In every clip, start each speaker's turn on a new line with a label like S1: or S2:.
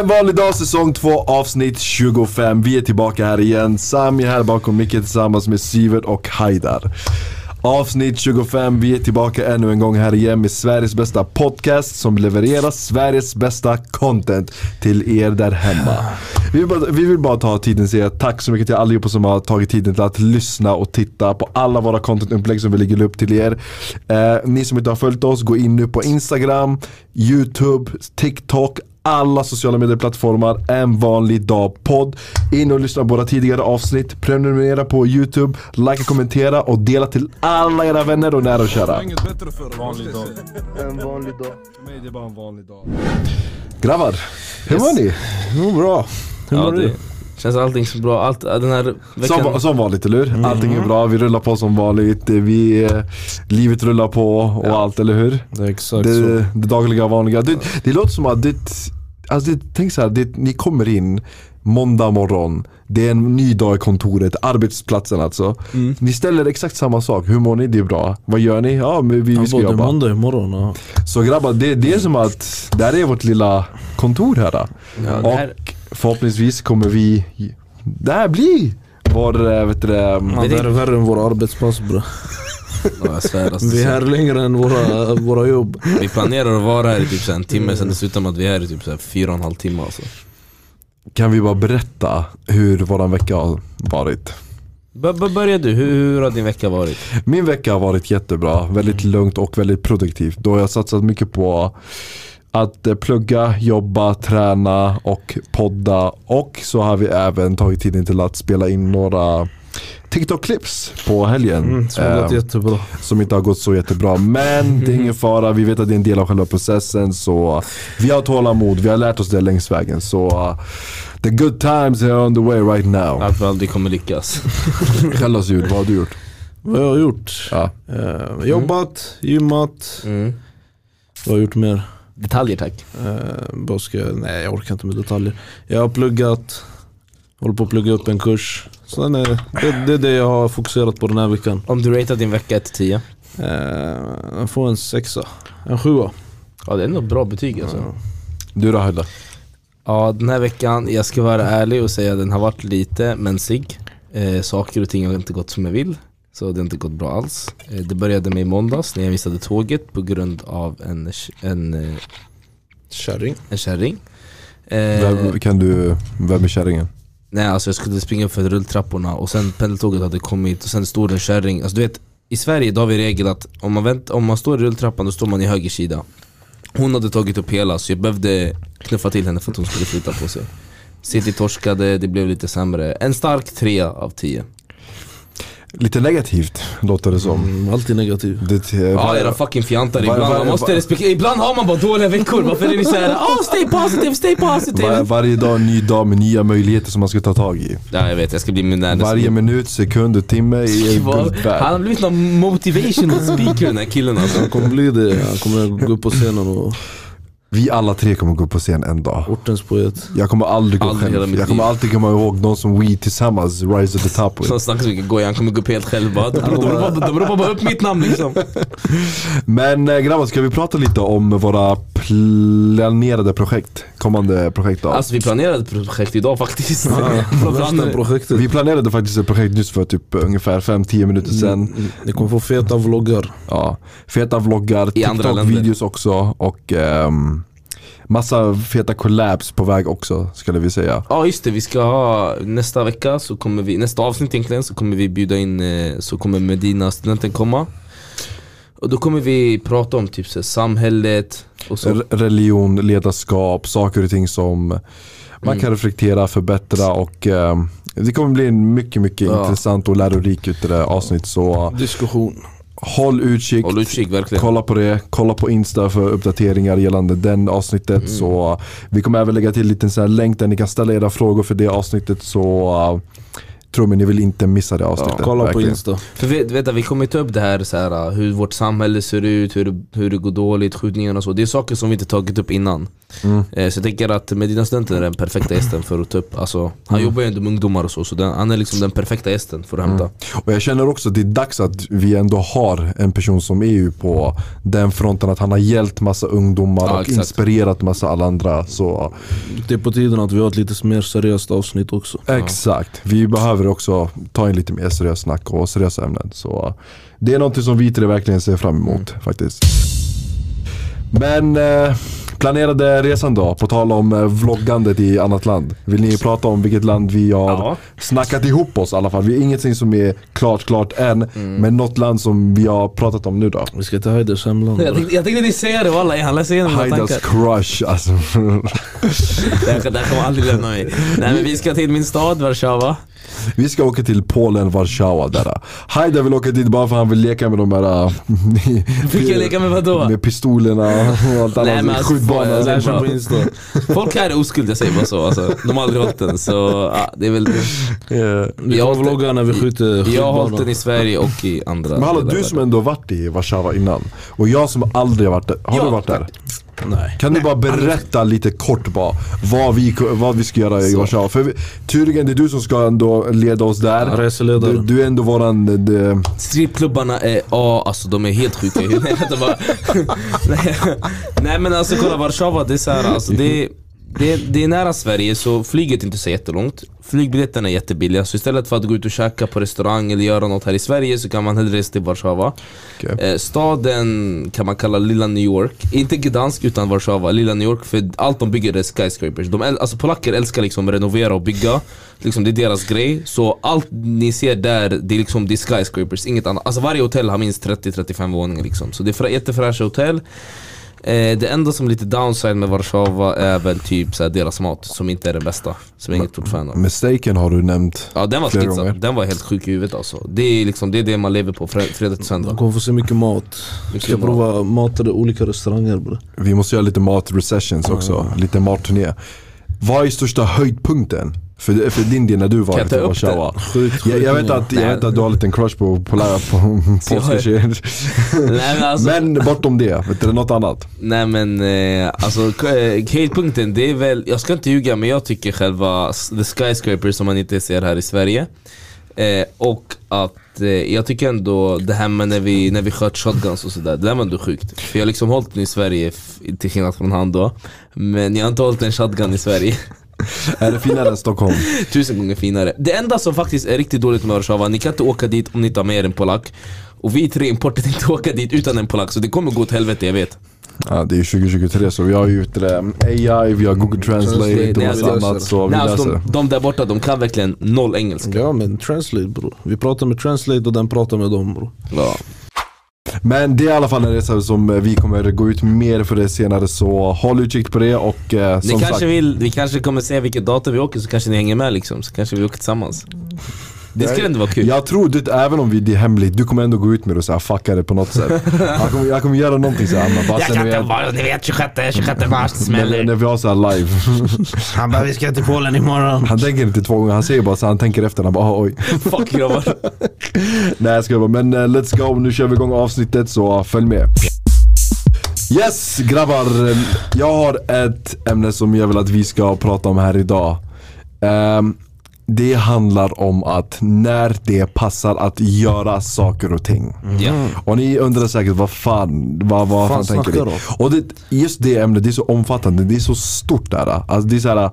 S1: En vanlig dag, säsong 2, avsnitt 25. Vi är tillbaka här igen. Sami här bakom micken tillsammans med Sivert och Haidar. Avsnitt 25, vi är tillbaka ännu en gång här igen med Sveriges bästa podcast som levererar Sveriges bästa content till er där hemma. Vi vill bara, vi vill bara ta tiden och säga tack så mycket till allihopa som har tagit tiden till att lyssna och titta på alla våra contentupplägg som vi lägger upp till er. Eh, ni som inte har följt oss, gå in nu på Instagram, YouTube, TikTok, alla sociala medieplattformar, en vanlig dag podd. In och lyssna på våra tidigare avsnitt, prenumerera på YouTube, like, kommentera och dela till alla era vänner och nära och kära.
S2: inget bättre för Vanlig dag.
S3: En vanlig dag.
S2: För mig det är bara en vanlig dag.
S1: Grabbar, hur mår ni?
S3: Jag mår bra. Hur
S4: Ja,
S3: mår
S4: det
S3: du?
S4: känns allting så bra. Allt, den här veckan...
S1: Som, som vanligt, eller
S3: Mm.
S1: hur? Allting är bra, vi rullar på som vanligt, vi, eh, livet rullar på och allt, eller hur?
S3: Det är exakt så.
S1: Det, det dagliga vanliga. Det, det låter som att ditt, alltså det, tänk så här, det, ni kommer in måndag morgon, det är en ny dag i kontoret, arbetsplatsen alltså. Ni ställer exakt samma sak, hur mår ni? Det är bra. Vad gör ni? Ja, men vi, vi ska
S3: Både
S1: jobba.
S3: måndag och imorgon. Ja.
S1: Så grabbar, det, det är som att det här är vårt lilla kontor här. Då.
S4: Ja, det
S1: och
S4: här-
S1: förhoppningsvis kommer vi, det här blir vår, eh, vet du, det,
S3: Ja,
S4: det- Alltså,
S3: det här är värre än våra arbetspass bro.
S5: Ja, jag svär, alltså,
S3: Vi är här längre än våra, våra jobb.
S5: vi planerar att vara här i typ så här en timme, sen det slutar med att vi är här i typ så här fyra och en halv timme alltså.
S1: kan vi bara berätta hur våran vecka har varit.
S4: B- b- börja du, hur, hur har din vecka varit?
S1: Min vecka har varit jättebra, väldigt
S3: Mm.
S1: lugnt och väldigt produktivt. Då har jag satsat mycket på att eh, plugga, jobba, träna och podda. Och så har vi även tagit tiden till att spela in några TikTok-clips på helgen.
S3: Mm, Så det har
S4: Ehm.
S3: gått
S1: Eh,
S3: jättebra.
S1: som inte har gått så jättebra. Men det är ingen fara, vi vet att det är en del av själva processen. Så vi har tålamod, vi har lärt oss det längs vägen. Så uh, the good times are on the way right now.
S5: Att vi aldrig kommer lyckas.
S1: Kallas ljud, vad har du gjort?
S3: Vad jag har gjort?
S1: Ja.
S3: Eh, jobbat, gymmat.
S5: Mm.
S3: Vad har jag gjort mer?
S4: Detaljer tack.
S3: Eh, bara ska, nej jag orkar inte med detaljer. Jag har pluggat. Håller på att plugga upp en kurs. Så den är, det, det är det jag har fokuserat på den här veckan.
S4: Om du ratear din vecka 1-10?
S3: Eh, jag får en sexa. En sjua.
S4: Ja det är nog bra betyg alltså.
S1: Du då Hedda?
S4: Ja den här veckan, jag ska vara ärlig och säga att den har varit lite mensig. Eh, saker och ting har inte gått som jag vill. Så det har inte gått bra alls. Eh, det började med i måndags när jag missade tåget på grund av en, en, eh,
S3: Kärring.
S4: en kärring. Eh,
S1: Vem, kan du, vem är kärringen?
S5: Nej alltså jag skulle springa upp för rulltrapporna och sen pendeltåget hade kommit och sen stod det en kärring. Alltså du vet, i Sverige då har vi regel att om man, vänt, om man står i rulltrappan då står man i höger sida. Hon hade tagit upp hela så jag behövde knuffa till henne för att hon skulle flytta på sig. City torskade, det blev lite sämre. En stark trea av tio.
S1: Lite negativt låter det som.
S3: Mm, alltid negativ.
S1: Det,
S5: Ja era fucking fjantar
S1: Var-
S5: ibland,
S1: var-
S5: man måste
S1: var-
S5: respektera, ibland har man bara dåliga veckor, varför är ni såhär oh, stay positive, stay positive?
S1: var, varje dag en ny dag med nya möjligheter som man ska ta tag i.
S5: Ja jag vet, jag ska bli miljonär nästa
S1: Varje minut, sekund och timme är
S5: Vad- Han
S1: guldvärd.
S5: har blivit någon motivational speaker den här killen alltså
S3: Han kommer bli det. Han kommer gå upp på scenen och
S1: Vi alla tre kommer gå upp på scen en dag.
S3: ortens poet.
S1: Jag kommer aldrig gå
S5: Aldrig hela
S1: själv.
S5: mitt
S1: Jag kommer
S5: liv.
S1: alltid komma ihåg någon som we tillsammans rise to the top with.
S5: Som snackar så mycket goj, han kommer gå upp helt själv bara De ropar de ropar bara upp mitt namn liksom
S1: Men äh, grabbar, ska vi prata lite om våra planerade projekt? Kommande projekt då?
S5: Alltså vi planerade ett projekt idag faktiskt
S3: Värsta projektet.
S1: vi planerade faktiskt ett projekt nyss för typ eh, ungefär 5-10 minuter
S5: Mm.
S1: sedan.
S3: Ni kommer få feta vloggar.
S1: Ja, feta vloggar,
S5: I andra länder.
S1: TikTok-videos också och ehm, massa feta collabs på väg också skulle vi säga.
S5: Ja just det, vi ska ha nästa vecka så kommer vi, nästa avsnitt egentligen så kommer vi bjuda in, eh, så kommer Medina studenten komma Och då kommer vi prata om typ så här, samhället och så
S1: R- Religion, ledarskap, saker och ting som
S5: Mm.
S1: man kan reflektera, förbättra och ehm, det kommer bli en mycket, mycket
S5: Ja.
S1: intressant och lärorik ut i det här avsnitt så
S3: Diskussion.
S1: håll utkik.
S5: Håll utkik verkligen
S1: Kolla på det, kolla på Insta för uppdateringar gällande den avsnittet.
S5: Mm.
S1: Så vi kommer även lägga till en liten så här länk där ni kan ställa era frågor för det avsnittet. Så uh, Tro mig, ni vill inte missa det avsnittet.
S3: Kolla på
S1: verkligen.
S3: Insta.
S5: För vi, vänta, vi kommer ta upp det här, så här hur vårt samhälle ser ut, hur, det- hur det går dåligt, skjutningar och så. Det är saker som vi inte tagit upp innan.
S1: Mm.
S5: Eh, Så jag tänker att Medina Studenten är den perfekta gästen för att ta upp. Alltså,
S1: Mm.
S5: han jobbar ju ändå med ungdomar och så, så den, han är liksom den perfekta gästen för att hämta.
S1: Och jag känner också att det är dags att vi ändå har en person som är ju på den fronten. Att han har hjälpt massa ungdomar
S5: Ja,
S1: och
S5: exakt.
S1: inspirerat massa alla andra. Så
S3: Det är på tiden att vi har ett lite mer seriöst avsnitt också.
S1: Exakt. Vi behöver också ta in lite mer seriöst snack och seriösa ämnen. Så det är någonting som vi tre verkligen ser fram emot faktiskt. Men eh, planerade resan då? På tal om eh, vloggandet i annat land. Vill ni prata om vilket land vi har snackat ihop oss i alla fall? Vi är ingenting som är klart klart än. Men något land som vi har pratat om nu då.
S3: Vi ska till Haiders hemland.
S5: Jag, tänkte, jag tänkte ni säger det walla, han läser igenom mina
S1: Haidas
S5: tankar.
S1: crush alltså.
S5: Det här, det här kommer aldrig lämna mig. Nej men vi ska till min stad Warszawa.
S1: Vi ska åka till Polen, Warszawa där. Haida vill åka dit bara för han vill leka med de här... äh,
S5: Fick jag leka med vadå?
S1: Med pistolerna och allt
S5: Nej, men
S1: annat.
S5: alltså,
S1: Skjutbanan. liksom.
S5: får jag-
S3: Läs den på Insta.
S5: Folk här är oskuld, jag säger bara så. Alltså, de har aldrig hållit den. Så ja, det är väl...
S3: Vi
S5: har
S3: kommer
S5: hållit-
S3: vlogga när vi skjuter
S5: Jag har hållit den
S3: skjutbanan.
S5: i Sverige och i andra
S1: Men hallå,
S5: delar
S1: du
S5: av
S1: som ändå varit i Warszawa innan och jag som aldrig har varit där. Har
S5: Ja,
S1: du varit där?
S3: Nej.
S1: Kan du bara berätta lite kort bara vad vi, vad vi ska göra i Warszawa? För vi, tydligen det är du som ska ändå leda oss där.
S3: Ja, reseledaren.
S1: du, du är ändå våran... eh, de-
S5: Strippklubbarna är, ja alltså de är helt sjuka i huvudet. Nej, vänta bara. Nej, Nej men alltså kolla Warszawa, det är så här, alltså, det, är- det, är- det är nära Sverige så flyget är inte så jättelångt. Flygbiljetterna är jättebilliga så istället för att gå ut och käka på restaurang eller göra något här i Sverige så kan man hellre resa till Warszawa.
S1: Okej.
S5: Eh, staden kan man kalla lilla New York. Inte Gdansk utan Warszawa, lilla New York. För allt de bygger är skyscrapers. De, äl- alltså polacker älskar liksom renovera och bygga. Liksom, det är deras grej. Så allt ni ser där, det är liksom det är skyscrapers. Inget annat. Alltså varje hotell har minst 30-35 våningar liksom. Så det är fra- jättefräscha hotell. Eh, det enda som är lite downside med Warszawa är väl typ så här, deras mat, som inte är den bästa. Som jag är inget stort fan av.
S1: Mistaken har du nämnt.
S5: Ja den var
S1: Flera
S5: skitsam,
S1: gånger.
S5: den var helt sjuk i huvudet alltså. Det är liksom, det är det man lever på fre- fredag till
S3: Man
S5: söndag.
S3: kommer få se mycket mat. Vi ska
S5: Mycket mat.
S3: prova matade olika restauranger bre.
S1: Vi måste göra lite mat-recessions också. Lite matturné. Vad är största höjdpunkten? För, för din del när du
S5: Kan
S1: var
S5: jag
S1: i
S5: ta upp
S1: Warszawa?
S3: Sjukt
S1: Jag, jag, vet
S3: skjutningar.
S1: att, jag
S5: Nej.
S1: vet att du har en liten crush på polska på, polska
S5: jag-
S1: tjejer.
S5: Nej men alltså,
S1: Men bortom det, vet du, något annat?
S5: Nej men eh, alltså k- eh, höjdpunkten det är väl, jag ska inte ljuga men jag tycker själva s- the skyscrapers som man inte ser här i Sverige eh, Och att eh, jag tycker ändå det här med när vi, när vi sköt shotguns och sådär, det där var ändå sjukt För jag har liksom hållit den i Sverige f- till skillnad från han då Men jag har inte hållit en shotgun i Sverige
S1: Är det finare än Stockholm?
S5: Tusen gånger finare. Det enda som faktiskt är riktigt dåligt med Warszawa, ni kan inte åka dit om ni inte har med er en polack. Och vi tre importer tänkte åka dit utan en polack, så det kommer gå åt helvete, jag vet.
S1: Ja, det är ju 2023 så vi har ju vet du, AI, vi har Google Translate och
S5: Nej,
S1: massa
S3: alltså-
S1: annat så vi
S5: Nej, alltså,
S1: läser.
S5: de, de där borta, de kan verkligen noll engelska.
S3: Ja men translate bro. Vi pratar med translate och den pratar med dem bro.
S5: Ja.
S1: Men det är i alla fall en resa som eh, vi kommer gå ut mer för det senare så håll utkik på det och eh,
S5: Ni
S1: som
S5: kanske
S1: sagt,
S5: vill, vi kanske kommer se vilket datum vi åker, så kanske ni hänger med liksom, så kanske vi åker tillsammans. Det skulle ändå vara
S6: Typ.
S5: kul.
S1: jag tror du, även om vi, det är hemligt, du kommer ändå gå ut med det och säga fucka det på något sätt. Jag kommer, jag kommer göra någonting såhär, men bara
S6: Jag
S1: sen
S6: kan inte
S1: när,
S6: vara, ni vet 26, 26 mars det
S1: vi-
S6: smäller.
S1: när vi har såhär live.
S6: Han bara vi ska till Polen imorgon.
S1: Han tänker inte två gånger, han säger bara så här, han tänker efter, han bara "Ah, oj.
S5: Fuck grabbar.
S1: Nej jag skojar bara, men eh, let's go. Nu kör vi igång avsnittet så eh, följ med. Yes grabbar, eh, jag har ett ämne som jag vill att vi ska prata om här idag. Ehm, det handlar om att när det passar att göra saker och ting.
S6: Mm,
S5: Ja.
S1: Och ni undrar säkert vad fan, vad, vad fan,
S3: Fan
S1: tänker
S3: snackar
S1: vi? Och det, just det ämnet, det är så omfattande, det är så stort där. Alltså det är så här,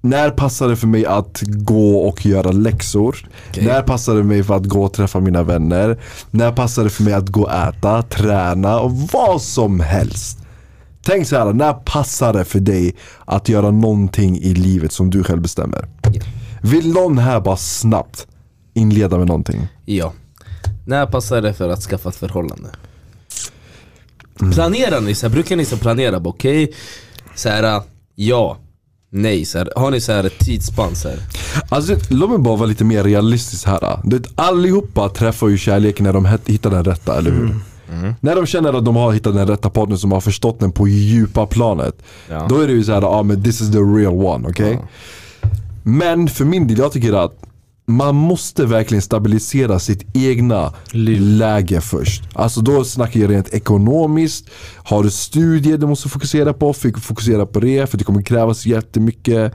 S1: när passar det för mig att gå och göra läxor? När passar det mig för att gå och träffa mina vänner? När passar det för mig att gå och äta, träna och vad som helst? Tänk så här, när passar det för dig att göra någonting i livet som du själv bestämmer? Vill någon här bara snabbt inleda med någonting?
S5: ja. När passar det för att skaffa ett förhållande?
S1: Mm.
S5: Planerar ni? Så här, brukar ni så här planera? bara, Okej, så här, ja, nej. Så här, har ni så här ett tidsspann? Så här?
S1: Alltså låt mig bara vara lite mer realistisk här. Du vet, allihopa träffar ju kärleken när de het- hittar den rätta, eller hur? När de känner att de har hittat den rätta partnern som har förstått den på djupa planet.
S5: Ja.
S1: Då är det ju så här, ja ah, men this is the real one, okej? Men för min del, jag tycker att man måste verkligen stabilisera sitt egna läge först. Alltså då snackar jag rent ekonomiskt. Har du studier du måste fokusera på, fick fokusera på det. För det kommer krävas jättemycket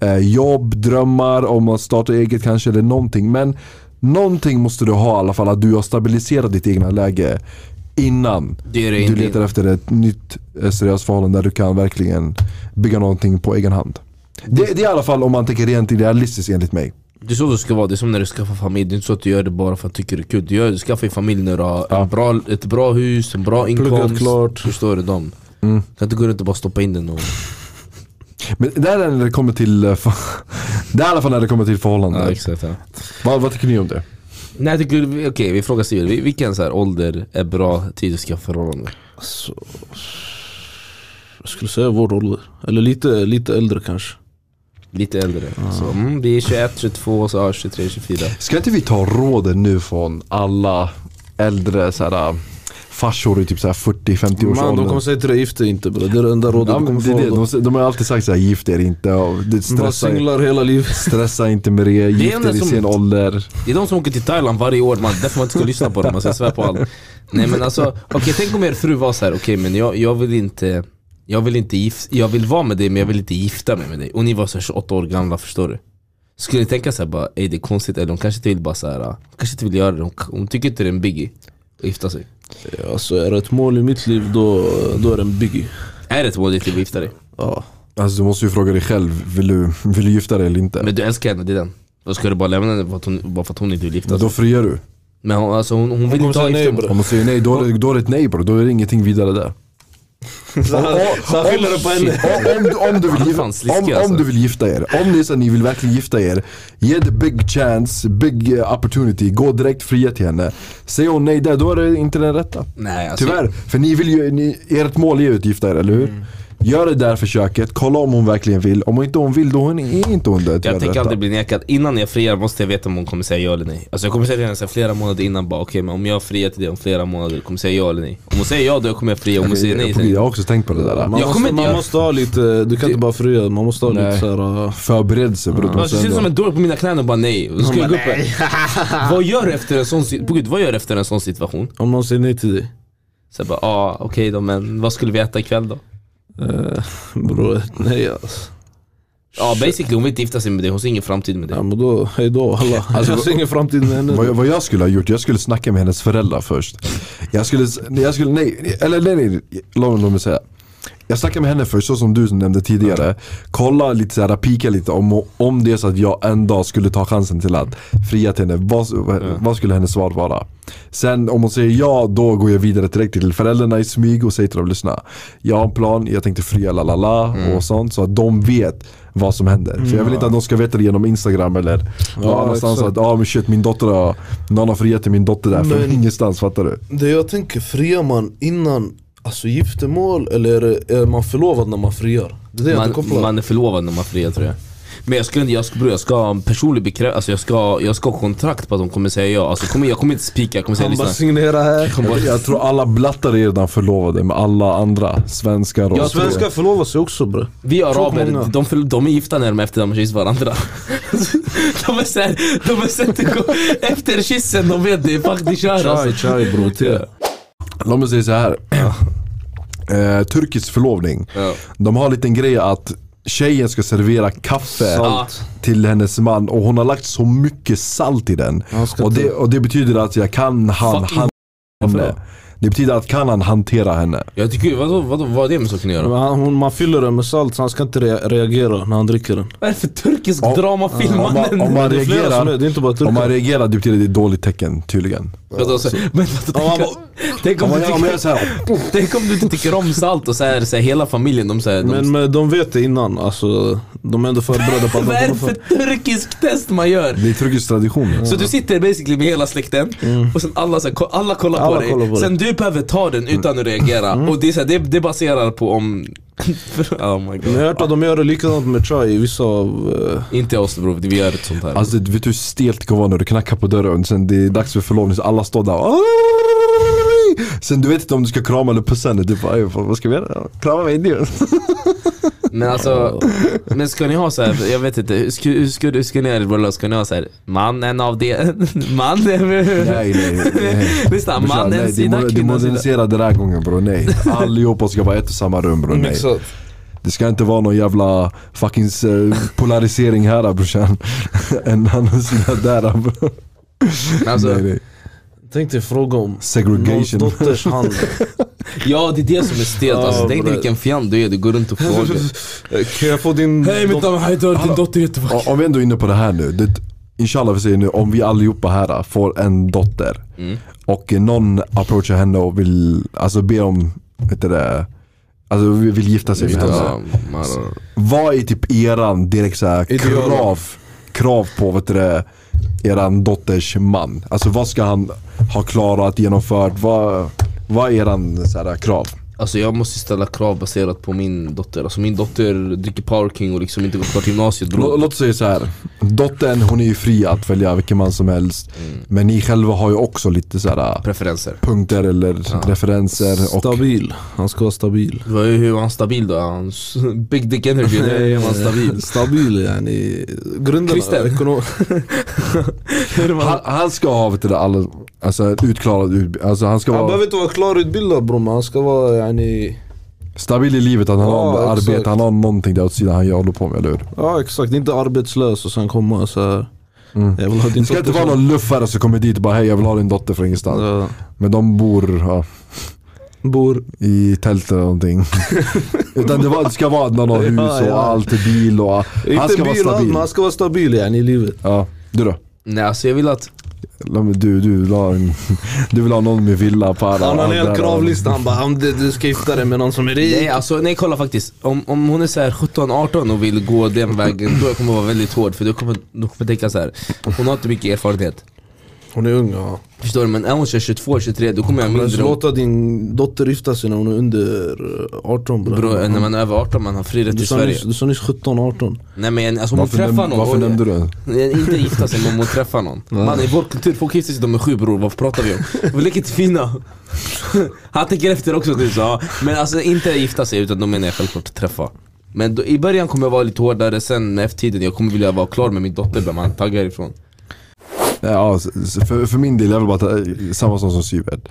S1: eh, jobb, drömmar, om man startar eget kanske eller någonting. Men någonting måste du ha i alla fall, att du har stabiliserat ditt egna läge innan
S5: Det är det
S1: du
S5: inte.
S1: letar efter ett nytt eh, seriöst förhållande där du kan verkligen bygga någonting på egen hand. Det, det är i alla fall om man tänker rent idealistiskt enligt mig.
S5: Det är så det ska vara, det är som när du skaffar familj. Det är inte så att du gör det bara för att du tycker det är kul. Du, gör, du skaffar ju familj när du har en bra, ett bra hus, en bra inkomst.
S3: klart.
S5: Förstår du dem? Mm. Kan inte gå runt och bara stoppa in den och...
S1: Men det här är när det kommer till eh, för- Det här är i alla fall när det kommer till förhållanden.
S5: exakt. Ja.
S1: vad, vad tycker ni om det?
S5: Nej, jag tycker- okej vi frågar Steven, Vi- vilken så här ålder är bra tid att skaffa förhållande?
S3: Alltså, jag skulle säga vår ålder. Eller lite, lite äldre kanske.
S5: Lite äldre. Så, mm, vi är 21, 22, så, ja, 23, 24.
S1: Ska inte vi ta råden nu från alla äldre så här, eh, farsor i typ 40-50 års
S3: Man,
S1: ålder?
S3: de kommer säga till dig, gift dig inte bre. Det är det enda rådet
S1: ja,
S3: du
S1: men
S3: kommer
S1: det, är det.
S3: få. av
S1: De, de har alltid sagt såhär, gift er inte. Och det
S3: dem. Bara
S1: stressa,
S3: singlar hela livet.
S1: stressa inte med det, gift
S5: enda
S1: er i
S5: som-
S1: sen ålder.
S5: Det är de som åker till Thailand varje år, man, därför man inte ska lyssna på dem, alltså, jag svär på allt. Nej men alltså, okej tänk om er fru var så här, okej men jag, jag vill inte jag vill inte gif- jag vill vara med dig men jag vill inte gifta mig med dig. Och ni var så här 28 år gamla, förstår du? Skulle ni tänka såhär bara, är det är konstigt? Eller hon kanske inte vill bara såhär, hon kanske inte vill göra det, hon, hon tycker inte det är en biggie att gifta sig.
S3: Alltså är det ett mål i mitt liv då, då är det en biggie.
S5: Är det ett mål i ditt liv att gifta dig?
S3: Ja.
S1: Alltså du måste ju fråga dig själv, vill du, vill du gifta dig eller inte?
S5: Men du älskar henne, det är den. Då ska du bara lämna henne för att hon, bara för att hon inte vill gifta sig?
S1: Då friar du.
S5: Men hon, alltså, hon, hon vill
S3: kommer
S5: inte ha
S3: säga nej,
S5: giftermål.
S3: bror.
S1: Om man säger nej, då är det, då är det ett nej bro. Då är det ingenting vidare där.
S3: Så han skyller det på henne.
S1: Om, om, du- om, du vill,
S5: Fan,
S1: gif-
S5: sliskig
S1: om,
S5: alltså.
S1: om du vill gifta er, om ni, så ni vill verkligen gifta er, ge the big chance, big eh, opportunity, gå direkt fria till henne. Säger hon nej där, då är det inte den rätta.
S5: Nej alltså,
S1: Tyvärr, för ni vill ju, ni, ert mål är ju att gifta er, eller hur?
S3: Mm.
S1: Gör det där försöket, kolla om hon verkligen vill. Om inte hon vill, då hon är inte hon det. till
S5: Jag
S1: den
S5: tänker
S1: rätta.
S5: aldrig bli nekad. Innan jag friar måste jag veta om hon kommer säga ja eller nej. Alltså jag kommer säga till henne så här flera månader innan bara okej men om jag friar till dig om flera månader kommer jag säga ja eller nej. Om hon säger ja då kommer jag fria, om hon säger nej
S1: Jag,
S5: sen.
S1: jag har också tänkt på det där.
S3: Man,
S5: Jag
S3: måste,
S5: kommer inte
S3: man
S5: göra-
S3: måste ha lite, du kan inte bara fria, man måste ha lite
S1: Nej.
S3: såhär... Uh,
S1: Förberedelse bror.
S3: alltså
S5: Jag ser ut som en dåre på mina knän och bara nej. Då ska jag gå upp här. Vad gör du efter en sån, si- på Gud, vad gör du efter en sån situation?
S3: om någon säger nej till dig.
S5: Så jag bara ah, okej då men vad skulle vi äta ikväll då?
S3: Uh, bror, nej alltså.
S5: Ja basically hon vill inte gifta sig med dig, hon ser ingen framtid med dig.
S3: Ja men då, hejdå alla. jag ser ingen framtid med henne.
S1: Vad jag, vad jag skulle ha gjort, jag skulle snacka med hennes föräldrar först. Jag skulle, s- nej, jag skulle nej, eller nej, nej, låt, mig- låt mig säga. Jag snackar med henne först, så som du nämnde tidigare. Kolla lite såhär, pika lite om, om det är så att jag en dag skulle ta chansen till att fria till henne. Vad, vad- vad skulle hennes svar vara? Sen om hon säger ja, då går jag vidare direkt till föräldrarna i smyg och säger till dem, lyssna. Jag har en plan, jag tänkte fria la la la
S3: Mm.
S1: och sånt. Så att de vet vad som händer. För jag vill inte att de ska veta det genom Instagram eller någon annanstans.
S3: exakt.
S1: Att, ja men shit min dotter har, någon har friat till min dotter där från
S3: Men-
S1: ingenstans fattar du?
S3: Det jag tänker, friar man innan alltså giftermål eller är, det- är man förlovad när man friar? Det är det jag inte
S5: man,
S3: kopplar.
S5: man är förlovad när man friar tror jag. Men jag ska, inte- jag ska, bror, jag ska ha en personlig bekräftelse, alltså jag ska, jag ska ha kontrakt på att de kommer säga ja. Alltså, jag kommer, jag kommer inte spika, jag kommer säga
S3: Han bara
S5: lyssna.
S3: signera här.
S1: Jag, jag tror alla blattar är redan förlovade med alla andra svenskar och
S3: Svenskar förlovar sig också bre.
S5: Vi
S3: Folk många.
S5: araber, de, förl- de är gifta när de är efter de har kysst varandra. de är såhär, de är såhär, det går- efter kyssen, de vet det är fuck, det kör
S3: Chai
S5: alltså.
S3: chai bror, te.
S1: Låt mig säga så här. Eh, turkisk förlovning.
S5: Ja.
S1: De har en liten grej att tjejen ska servera kaffe
S5: Salt.
S1: till hennes man och hon har lagt så mycket salt i den.
S3: Han ska
S1: Och
S3: ta-
S1: det, och det betyder att jag kan han,
S5: Fucking
S1: han, henne. Det betyder att kan han hantera henne.
S5: Jag tycker, vadå, vadå, vad är det man ska kunna göra?
S3: Men han, hon, man fyller den med salt så han ska inte re- reagera när han dricker den.
S5: Vad är det för turkisk
S1: Om-
S5: dramafilm
S1: om man, om
S5: mannen?
S1: man
S3: Det är flera som är-
S1: reagerar,
S3: det är inte bara
S1: om man
S3: turkar.
S1: reagerar det betyder det är ett dåligt tecken tydligen.
S5: Vadå, så- Men alltså,
S1: Om man
S5: tänk- tänk om
S1: Om
S5: du
S1: man, om man
S5: tycker-
S1: gör så här,
S5: tänk om du inte tycker om salt och såhär, så här, hela familjen, de såhär, de
S3: Men, men de vet det innan, alltså de är ändå förberedda på att
S5: Vad
S3: de
S5: är det
S3: kommer
S5: för
S3: för...
S5: turkisk test man gör?
S1: det är turkisk tradition.
S5: Så du sitter basically med hela släkten och sen alla, så här, ko- alla kollar
S3: Alla
S5: på dig.
S3: kollar på dig.
S5: sen du behöver ta den utan att reagera.
S1: Mm.
S5: Och det, är så här, det, det baserar på om... oh my
S3: Men jag
S5: god.
S3: har hört att de gör det likadant med chai i vissa av... eh,
S5: Inte oss bror, vi gör ett sånt här.
S1: Alltså du vet du hur stelt det kan vara när du knackar på dörren, sen det är dags för förlovning så alla står där Sen du vet inte om du ska krama eller pussa henne, du bara "Ey, vad vad ska vi göra? Krama mig nu
S5: Men alltså, men ska ni ha så här, jag vet inte, hur ska, hur ska, hur ska ni ha er bröllop? Ska ni ha så här, mannen av det, man?
S1: Nej, nej, nej.
S5: Lyssna,
S1: Brorsan,
S5: man en
S1: nej,
S5: sida,
S1: du,
S5: kvinnan sida.
S1: modernisera den här gången bro, nej. Allihopa ska vara ett och samma rum bro, nej.
S3: Mixat.
S1: Det ska inte vara någon jävla fucking eh, polarisering här brorsan. en annan sida där bro.
S5: Alltså,
S1: nej, nej.
S3: Tänk dig fråga om någons
S1: Segregation.
S3: dotters hand.
S5: Ja det är det som är stelt, alltså,
S3: Ja,
S5: tänk
S3: bror.
S5: dig vilken fjant du är, du går runt och frågar
S3: kan jag få din dot-
S4: namn är din dotter är
S1: O- Om vi ändå är inne på det här nu. Det, inshallah vi säger nu, om vi allihopa här får en dotter och eh, någon approachar henne och vill, alltså be om, vet heter det, alltså vi vill gifta sig med henne.
S5: Ja, man-
S1: Vad är typ eran direkt så här
S3: Ideal.
S1: krav, krav på vet du det, eran dotters man? Alltså vad ska han ha klarat, genomfört? Vad, vad är eran så här, krav?
S5: Alltså jag måste ställa krav baserat på min dotter, alltså min dotter dricker Power King och liksom inte går klart gymnasiet
S1: Lå-
S5: bror
S1: Låt oss säga så här. Mm. dottern hon är ju fri att välja vilken man som helst. Men ni själva har ju också lite så här
S5: Preferenser
S1: punkter eller referenser och
S3: Stabil. Han ska vara stabil.
S5: Vad är- Hur är han stabil då? Är Han s- big dick energy, eller är han stabil?
S3: Eh, Stabil yani. Grunderna.
S5: Christer.
S3: ekonom-
S1: han, han ska ha vet du, det, alla, alltså ett utklarat ut- alltså han ska
S3: Han
S1: vara
S3: behöver inte vara klarutbildad bror men han ska vara yani.
S1: stabil i livet, han har
S3: Ja, exakt.
S1: arbete, han har någonting där åt sidan han gör- håller på med, eller hur?
S3: Ja exakt, inte arbetslös och sen komma så här. Jag vill ha din
S1: Det ska inte
S3: dotter
S1: vara
S3: som-
S1: någon luffare som kommer dit och bara hej jag vill ha din dotter från ingenstans.
S3: Ja.
S1: Men de bor ja,
S3: Bor
S1: i tält eller någonting. Utan det, var, det ska vara någon har hus
S3: Ja, ja.
S1: och allt, bil och... Han
S3: Inte
S1: ska vara
S3: bilen,
S1: stabil.
S3: men han ska vara stabil yani, i livet.
S1: Ja, du då?
S5: Nej alltså jag vill att,
S1: La- men Du, du, vill ha en, du vill ha någon med villa på alla
S3: Han har en hel
S1: där-
S3: kravlista, han bara om du, du ska gifta dig med någon som är rik.
S5: nej alltså nej kolla faktiskt Om, om hon är såhär 17-18 och vill gå den vägen, då kommer jag vara väldigt hård för då kommer då kommer jag tänka såhär Hon har inte mycket erfarenhet,
S3: Hon är ung ja.
S5: förstår du? Men är hon 22-23 då kommer jag ha
S3: Men så
S5: mindre
S3: låta din dotter gifta sig när hon är under eh, 18 bror.
S5: Bro, när man är över 18 man har fri rätt
S3: du,
S5: till
S3: sa
S5: Sverige
S3: nyss, du sa nyss 17, 18.
S5: Nej men alltså om hon
S1: Varför,
S5: träffar
S1: näm-
S5: någon
S1: varför
S5: oj,
S1: nämnde du den?
S5: Inte gifta sig men om hon träffar någon Man i vår kultur, folk gifter sig de är sju bror, vad pratar vi om? Vi leker till fina Han tänker efter också nu så ja. Men alltså inte gifta sig utan då menar jag självklart träffa Men då, i början kommer jag vara lite hårdare, sen med F-tiden jag kommer vilja vara klar med min dotter bland man taggar ifrån
S1: Ja, s- s- för, för min del, jag vill bara ta, eh, samma som som Syved.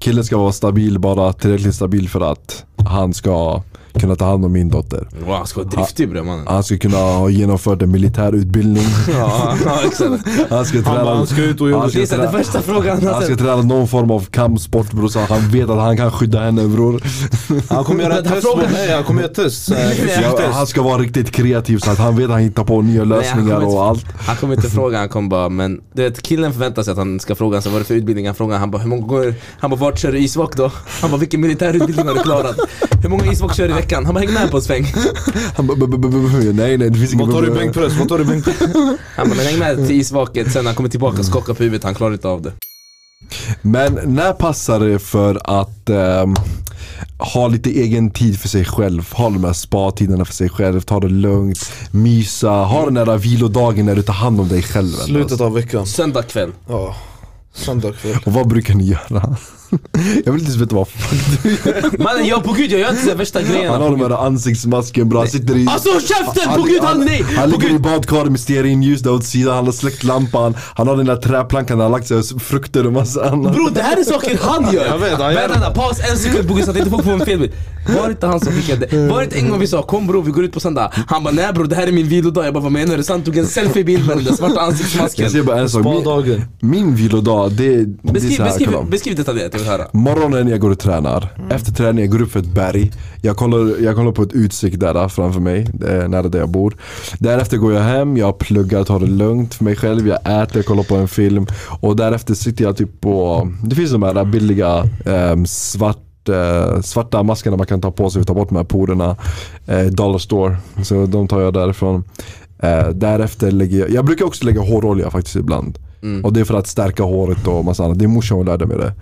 S1: Killen ska vara stabil, bara tillräckligt stabil för att han ska kunna ta hand om min dotter.
S5: Wow, han ska vara driftig bre mannen
S1: Han ska kunna ha genomfört en militär utbildning.
S5: Ja, ja exakt
S1: Han ska träna, han ska ut och
S5: Det är så här, den första frågan
S1: han ska träna någon form av kampsport bror, så att han vet att han kan skydda henne bror.
S3: Han kommer göra ett
S5: Vänta,
S3: test på
S5: fråga.
S3: mig, han kommer göra ett test. Så här,
S5: Nej.
S1: Ja, han ska vara riktigt kreativ så att han vet att han hittar på nya lösningar
S5: kommer
S1: och allt.
S5: Han kommer inte fråga, han kommer bara men Du vet killen förväntar sig att han ska fråga sig vad är det för utbildning han frågar Han bara hur många gånger, han bara vart kör du isvak då? Han bara vilken militärutbildning har du klarat? Hur många isvak kör du i veckan? Han bara häng med på en sväng
S1: Han bara, "Bu- bu- bu- bu- bu." nej nej det finns inget
S3: Vad tar du i
S1: bu- bu-
S3: bänkpress? Vad tar du i bänkpress?
S5: Han bara men häng med till isvaket sen när han kommer tillbaka och skakar på huvudet, han klarar inte av det
S1: Men när passar det för att ehm, ha lite egen tid för sig själv? Ha de här spa-tiderna för sig själv, ta det lugnt, mysa, ha den där vilodagen när du tar hand om dig själv. ändå.
S3: Slutet av veckan.
S5: Söndag kväll
S3: Ja. Söndag kväll.
S1: Och vad brukar ni göra? Jag vill inte ens veta vad fuck
S5: Mannen jag på gud jag gör inte de värsta
S1: Han
S5: grejerna
S1: har de här ansiktsmasken bra, han sitter i...
S5: Alltså käften! På gud han nej!
S1: Han
S5: På
S1: ligger i
S5: gud!
S1: badkaret med stearinljus där åt sidan, han har släckt lampan, han har den där träplankan där han har lagt sig och frukter och massa annat.
S5: Bror det här är saker han gör!
S3: Jag vet, han gör
S5: Vänta, paus en sekund Bugge så att inte folk får en fel bild. Var det inte han som skickade? Var det inte en gång vi sa kom bror vi går ut på söndag? Han bara nej bror det här är min vilodag. Jag bara vad menar du? Så han tog en selfiebild med den där svarta ansiktsmasken.
S1: Jag säger bara en sak, min,
S3: Spa-dagen.
S1: min vilodag det, det är
S5: Beskriv,
S1: så här,
S5: beskriv,
S1: kolla.
S5: beskriv detaljerat, jag vill höra.
S1: Morgonen jag går och tränar, efter träningen jag går upp för ett berg Jag kollar, jag kollar på ett utsikt där framför mig, det är nära där jag bor Därefter går jag hem, jag pluggar, tar det lugnt för mig själv Jag äter, kollar på en film Och därefter sitter jag typ på, det finns de här billiga ehm, svart, eh, svarta maskerna man kan ta på sig och ta bort de här porerna eh, Dollar store, så de tar jag därifrån Eh, därefter lägger jag, jag brukar också lägga hårolja faktiskt ibland Och det är för att stärka håret och massa annat, det är morsan som lärde mig det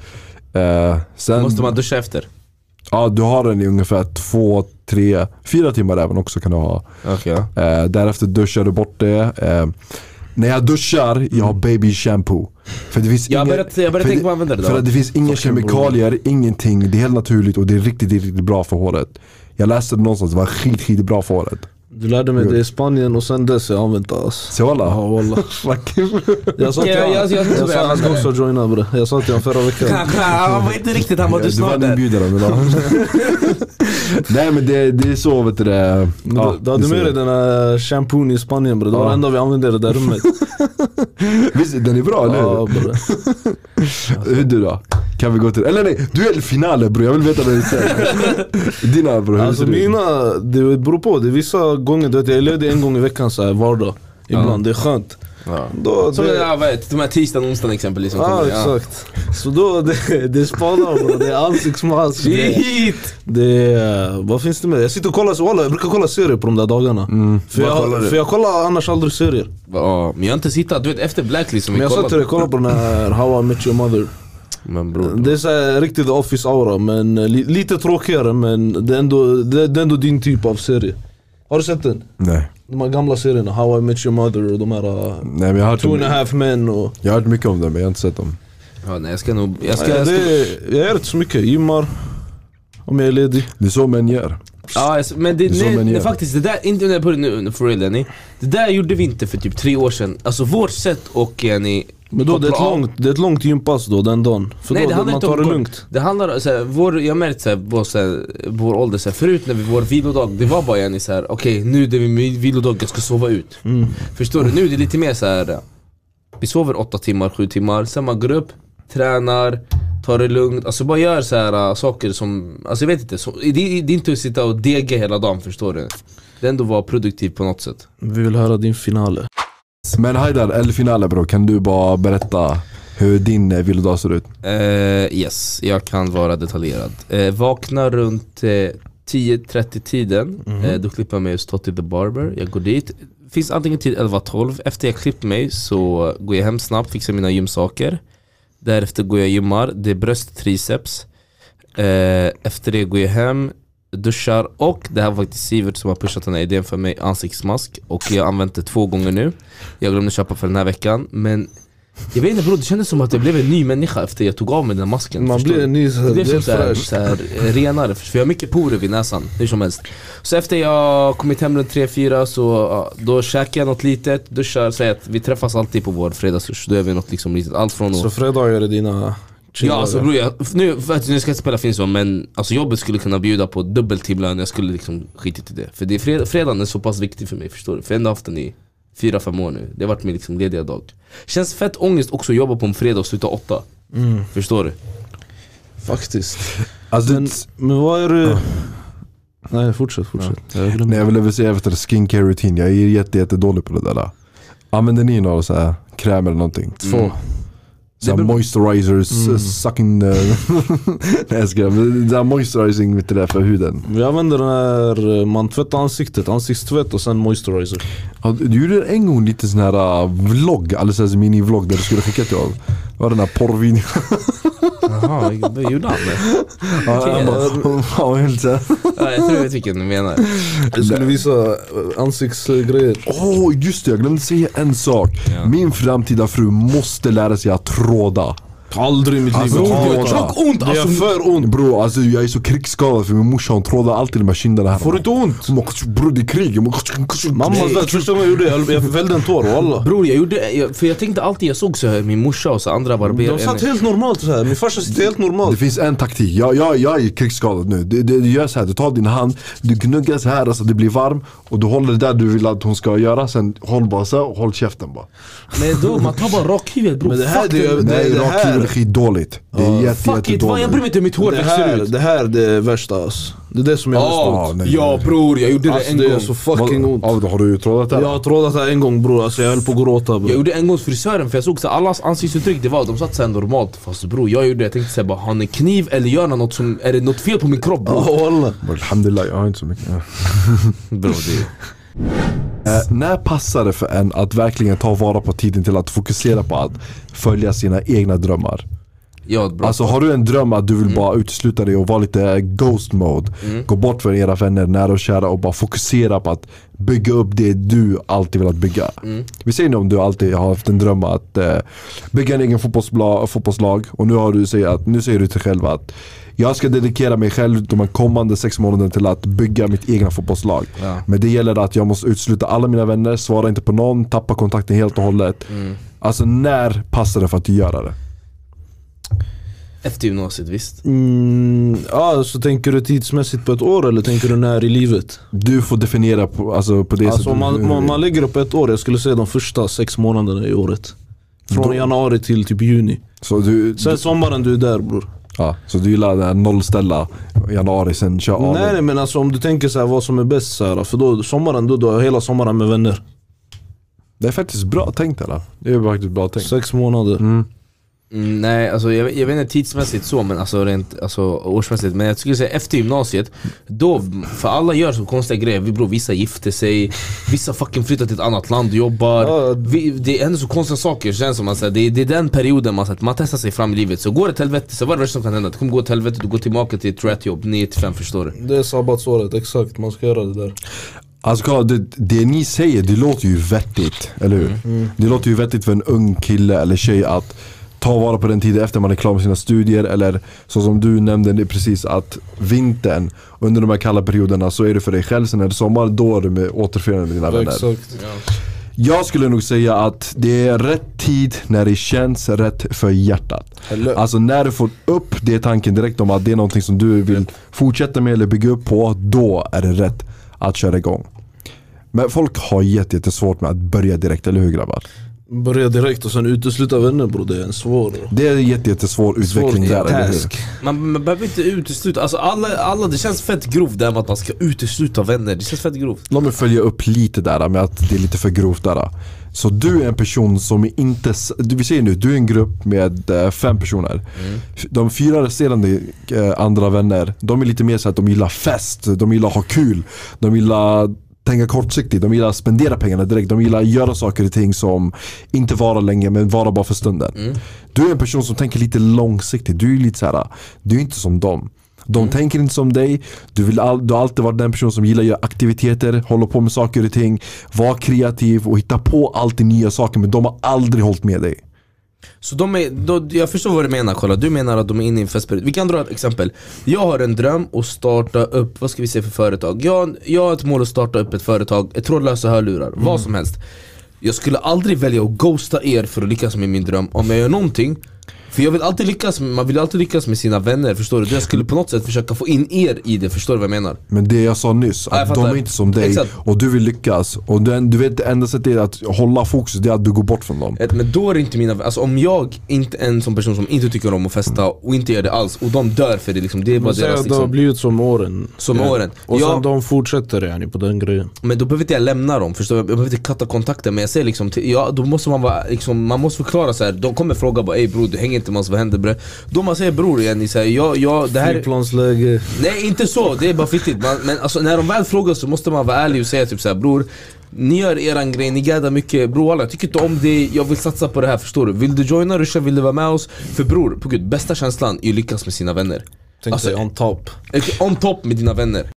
S1: Eh, sen,
S5: Måste man duscha efter?
S1: ja, du har den i ungefär två, tre, fyra timmar även också kan du ha.
S5: Okej.
S1: Eh, därefter duschar du bort det. Eh, När jag duschar, jag har baby shampoo. För det finns
S5: Jag har
S1: ingen-
S5: börjat- jag har börjat
S1: för
S5: tänka
S1: det-
S5: på att använda det då.
S1: För att det finns inga kemikalier, ingenting. Det är helt naturligt och det är riktigt, riktigt bra för håret. Jag läste det någonstans, det var skit, skit bra för håret.
S3: Du lärde mig det i Spanien och sen dess har jag använt det ass.
S1: Så alla.
S3: Ja walla.
S1: Vad kul.
S3: Jag sa till
S5: Ja,
S3: han,
S5: jag- jag- jag-
S3: jag sa, han ska också joina bre. Jag sa till honom förra veckan.
S5: Han var inte riktigt, han var du
S1: Du var
S5: snart
S1: en
S5: där.
S1: inbjudare idag. Nej men det, det är så vet du det.
S3: Ja, du hade
S1: är så.
S3: med dig den här shampooen i Spanien bre. Det var
S1: Ja.
S3: det enda vi använde i det där rummet.
S1: Visst, den är bra eller hur?
S3: Ja bre.
S1: Hur Eh, du då? Kan vi gå till, eller nej, du är finalen bror, jag vill veta vad du säger. Dina bror, hur
S3: Alltså
S1: ser det ut?
S3: mina, det beror på. Det är vissa gånger, du vet jag är ledig en gång i veckan så här, vardag. Ibland, det är skönt. Då,
S5: Som
S3: det,
S5: ja, vet, de här tisdagen, onsdagen exempelvis som
S3: Ja
S5: kommer. Ja.
S3: exakt. Så då, det, det är spadar bro, det är ansiktsmask. Det,
S5: Shit!
S3: det är, vad finns det med? Jag sitter och kollar, walla, jag brukar kolla serier på de där dagarna. För,
S5: Vad kollar du?
S3: jag, för jag kollar annars aldrig serier.
S5: Ja, men jag har inte sittat, du vet efter Blacklist som
S3: Men
S5: vi
S3: jag sa till dig,
S5: kollade.
S3: kolla på den här How I Met Your Mother.
S5: Men bror.
S3: Det är så här, riktigt The office aura, men eh, li, lite tråkigare men det är, ändå, det, det är ändå din typ av serie. Har du sett den?
S1: Nej,
S3: De här gamla serierna, How I Met Your Mother och de här uh,
S1: nej men jag har, hört
S3: Two and a
S1: om,
S3: half men och...
S1: jag har hört mycket om den men jag har inte sett dem.
S5: Ja, nej, jag ska nog, jag ska,
S3: Ja,
S5: jag ska,
S3: det, jag gör inte så mycket, gymmar. Om jag är ledig.
S1: Det är så män gör.
S5: Ja, alltså, men det,
S1: Det är så
S5: nej,
S1: man
S5: nej,
S1: gör.
S5: faktiskt, det där, inte när jag började nu, nu, for real Jenny. Det där gjorde vi inte för typ tre år sedan. Alltså vårt sätt och eh, Jenny
S3: Men då det är, ett
S5: koppla av-
S3: långt, det är ett långt gympass då den dagen. För då man tar det
S5: kort.
S3: lugnt.
S5: Det handlar om, så här, vår, jag har märkt så här, på så här, vår ålder, så här, förut när vi vår vilodag, det var bara Jenny så här, okej nu är det min vilodag, jag ska sova ut.
S3: Mm.
S5: Förstår du? Nu är det lite mer så här. vi sover åtta timmar, sju timmar, sen man går upp, tränar, tar det lugnt, alltså bara gör så här äh, saker som, alltså jag vet inte, så, det, det är inte att sitta och dega hela dagen förstår du. Det är ändå att vara produktiv på något sätt.
S3: Vi vill höra din finale.
S1: Men Haidar, El Finale bror, kan du bara berätta hur din eh, vilodag ser ut?
S5: Eh, yes, jag kan vara detaljerad. Eh, vaknar runt eh, 10.30 tiden, eh, då klipper jag mig hos Totti the Barber, jag går dit. Finns antingen tid 11-12, efter jag klippt mig så går jag hem snabbt, fixar mina gymsaker. Därefter går jag och gymmar, det är bröst, triceps. Eh, efter det går jag hem, duschar och det här var faktiskt Sivert som har pushat den här idén för mig, ansiktsmask. Och jag har använt det två gånger nu. Jag glömde köpa för den här veckan, men jag vet inte bror, det kändes som att jag blev en ny människa efter jag tog av mig den här masken
S3: Man
S5: förstår
S3: blir
S5: du?
S3: en ny så här,
S5: Det blev
S3: det är
S5: som såhär,
S3: fräsch.
S5: såhär, eh, renare, för jag har mycket porer vid näsan hur som helst Så efter jag kommit hem runt 3-4 så ja, då käkar jag något litet, duschar, säger att vi träffas alltid på vår fredagslusch Då gör vi något liksom litet, allt från
S3: Så
S5: att
S3: fredagar är dina
S5: Ja
S3: chilldagar.
S5: alltså bror, jag, nu, för att, nu ska jag inte spela fin så men alltså jobbet skulle kunna bjuda på dubbel timlön, jag skulle liksom skitit i det För det är fred, fredagen är så pass viktig för mig förstår du, för jag har ändå haft den i 4-5 år nu, det har varit min liksom lediga dag Känns fett ångest också att jobba på en fredag och sluta åtta
S3: Mm.
S5: Förstår du?
S3: Faktiskt.
S1: Alltså,
S3: Men, men vad är det... Nej fortsätt, fortsätt. Jag glömde.
S1: Nej jag ville väl säga efter skincare rutin, jag är jätte, jätte dålig på det där. Använder ni några så här kräm eller någonting?
S3: Två.
S1: Så här moisturizers, mm. sucking... eh, Nej jag skojar, men det här moisturizing vet du det, för huden.
S3: Vi använder den här, eh, man tvättar ansiktet, ansiktstvätt och sen moisturizer.
S1: Ja, du gjorde en gång lite sån här uh, vlogg, alldeles alltså mini-vlogg där du skulle skicka till oss. Det var den här porrvideon.
S5: Jaha, vad gjorde han?
S1: Ja,
S5: Okej.
S1: han bara- han var helt såhär.
S5: Ja, jag tror jag vet vilken du menar.
S3: Jag skulle visa eh, ansiktsgrejer.
S1: Åh just det, jag glömde säga en sak. Min framtida fru måste lära sig att tråda.
S3: Aldrig i mitt liv.
S1: Alltså,
S3: jag
S1: tråda.
S3: kommer att tråda.
S5: ont!
S3: Det gör för ont.
S1: Bro, alltså jag är så krigsskadad för min morsa hon trådar alltid med kinderna här.
S3: Får du inte ont?
S1: Bror det är krig.
S3: Mamma död, första gången jag gjorde det, jag jag fällde en tår walla.
S5: Bror jag gjorde, jag, för jag tänkte alltid, jag såg så här, min morsa och så andra barberare
S3: De satt helt normalt så här. min farsa sitter helt
S1: Det
S3: normalt.
S1: finns en taktik, jag, jag, jag är krigsskadad nu. Du, du, du gör så här, du tar din hand, du gnuggar så här så att det blir varm och du håller det där du vill att hon ska göra. Sen håll bara så här och håll käften bara.
S5: Men då, man tar bara rakhyveln bror.
S3: Men det här,
S5: Fuck
S3: det gör-
S5: det.
S1: Nej,
S3: det
S1: rakhyvel
S3: här-
S1: är skitdåligt. Det är jätte,
S5: Fuck it, vad, jag bryr
S1: jättedåligt.
S5: mig inte hur mitt hår
S3: det,
S5: växer
S3: här,
S5: ut.
S3: det här är det värsta alltså. Det är det som jag har
S5: Ja,
S3: mest
S1: nej,
S5: ja
S1: nej.
S5: bror, jag gjorde det
S3: Alltså
S5: en
S3: det
S5: gång.
S3: gör så fucking ont.
S1: Ja, har du trådat det?
S3: Jag har trådat här en gång bror, alltså jag höll på att gråta
S5: Jag
S3: bror.
S5: gjorde en gång hos frisören för jag såg så här, allas ansiktsuttryck det var, de satt såhär normalt Fast bror jag gjorde det, jag tänkte såhär bara, har ni kniv eller gör han något som, är det något fel på min kropp bror?
S3: Ja, walla.
S1: Alhamdulillah, jag har inte så mycket. Ja.
S5: Bror det
S1: Eh, när passar det för en att verkligen ta vara på tiden till att fokusera på att följa sina egna drömmar?
S5: Jag har ett bra
S1: Alltså har du en dröm att du vill bara utesluta dig och vara lite ghost mode. Gå bort från era vänner, nära och kära och bara fokusera på att bygga upp det du alltid velat bygga. Vi säger nu om du alltid har haft en dröm att eh, bygga en egen fotbollsbla, fotbollslag och nu, har du säger att, nu säger du till dig själv att jag ska dedikera mig själv de här kommande sex månaderna till att bygga mitt egna fotbollslag.
S5: Ja.
S1: Men det gäller att jag måste utesluta alla mina vänner, svara inte på någon, tappa kontakten helt och hållet. Alltså när passar det för att du gör det?
S5: Efter gymnasiet visst.
S3: Mm, ja, så tänker du tidsmässigt på ett år eller tänker du när i livet?
S1: Du får definiera på, alltså, på det
S3: Alltså
S1: sättet.
S3: om man,
S1: hur-
S3: man, man lägger upp ett år, jag skulle säga de första sex månaderna i året. Från januari till typ juni.
S1: så, du,
S3: Sen
S1: du,
S3: sommaren du är där bror.
S1: ja, så du gillar det här nollställa januari, sen kör av
S3: Nej, nej men alltså om du tänker så här, vad som är bäst så här, För då sommaren, då, då är hela sommaren med vänner.
S1: Det är faktiskt bra tänkt eller? Det är faktiskt bra tänkt.
S3: Sex månader.
S5: Mm, nej, alltså jag, jag vet inte tidsmässigt så, men alltså rent alltså, årsmässigt. Men jag skulle säga efter gymnasiet, då, för alla gör så konstiga grejer. Vi, bror, vissa gifter sig, vissa fucking flyttar till ett annat land och jobbar.
S3: Ja.
S5: Vi, det händer så konstiga saker känns som. Alltså, det, det är den perioden man, så att man testar sig fram i livet. Så går det till helvete, så vad är det värsta som kan hända? Det kommer gå till helvete, du går tillbaka till ett rat-jobb, 9 till 5 förstår du.
S3: Det är sabbatsåret, exakt. Man ska göra det där.
S1: Alltså kolla, det, det ni säger det låter ju vettigt, eller hur? Det låter ju vettigt för en ung kille eller tjej att ta vara på den tiden efter man är klar med sina studier eller så som du nämnde det är precis att vintern under de här kalla perioderna så är det för dig själv, sen är det sommar, då är du med återförenade med dina vänner.
S3: Exakt.
S1: Jag skulle nog säga att det är rätt tid när det känns rätt för hjärtat.
S3: Eller-
S1: Alltså när du får upp det tanken direkt om att det är någonting som du vill fortsätta med eller bygga upp på, då är det rätt att köra igång. Men folk har jätte- jättesvårt med att börja direkt, eller hur grabbar?
S3: Börja direkt och sen utesluta vänner bror, det är en svår...
S1: Det är en jätte- jättesvår utveckling där, eller hur?
S3: task.
S5: Man, man behöver inte utesluta, alltså alla, alla, det känns fett grovt det här med att man ska utesluta vänner. Det känns fett grovt.
S1: Låt mig följa upp lite där med att det är lite för grovt där. Så du är en person som är inte, s- du- vi säger nu, du är en grupp med eh, fem personer. F- De fyra resterande eh, andra vänner, de är lite mer så att de gillar fest, de gillar ha kul, de gillar tänka kortsiktigt, de gillar att spendera pengarna direkt, de gillar att göra saker och ting som inte vara länge men vara bara för stunden.
S5: Mm.
S1: Du är en person som tänker lite långsiktigt, du är lite så här, du är inte som dem. De
S5: Mm.
S1: tänker inte som dig, du, vill all, du har alltid varit den person som gillar att göra aktiviteter, hålla på med saker och ting, vara kreativ och hitta på alltid nya saker men de har aldrig hållit med dig.
S5: Så de är, då, jag förstår vad du menar kolla, du menar att de är inne i en festperiod. Vi kan dra ett exempel. Jag har en dröm att starta upp, vad ska vi säga för företag? Jag, jag har ett mål att starta upp ett företag, ett trådlösa hörlurar,
S3: Mm.
S5: vad som helst. Jag skulle aldrig välja att ghosta er för att lyckas med min dröm om jag gör någonting. För jag vill alltid lyckas, med- man vill alltid lyckas med sina vänner, förstår du? Jag skulle på något sätt försöka få in er i det, förstår du vad jag menar?
S1: Men det jag sa nyss,
S5: Ja, jag
S1: att de
S5: fattar.
S1: är inte som dig
S5: Exakt.
S1: och du vill lyckas. Och den, du vet det enda sättet är att hålla fokus, det är att du går bort från dem.
S5: Ett- Men då är det inte mina Alltså om jag, inte en sån person som inte tycker om att festa och inte gör det alls och de dör för det liksom, det är bara
S3: Men säg
S5: deras
S3: att det har
S5: liksom,
S3: blivit som åren.
S5: som åren.
S3: Och
S5: Jag-
S3: sen de fortsätter yani på den grejen.
S5: Men då behöver inte jag lämna dem, förstår du? Jag behöver inte katta kontakten men jag säger liksom, till, ja, då måste man vara, liksom, man måste förklara så här. de kommer fråga bara ey bror du hänger inte med oss, vad händer bre? Då man säger bror Jenny, så här, ja, ja, det här
S3: Flygplansläge.
S5: Nej inte så, det är bara fittigt man, Men alltså, när de väl frågar så måste man vara ärlig och säga typ så här, bror Ni gör eran grej, ni gaddar mycket, bror alla, jag tycker inte om det, jag vill satsa på det här förstår du? Vill du joina Rusha, vill du vara med oss? För bror, på gud, bästa känslan är att lyckas med sina vänner
S3: Tänk
S5: Alltså-
S3: dig on top.
S5: On top med dina vänner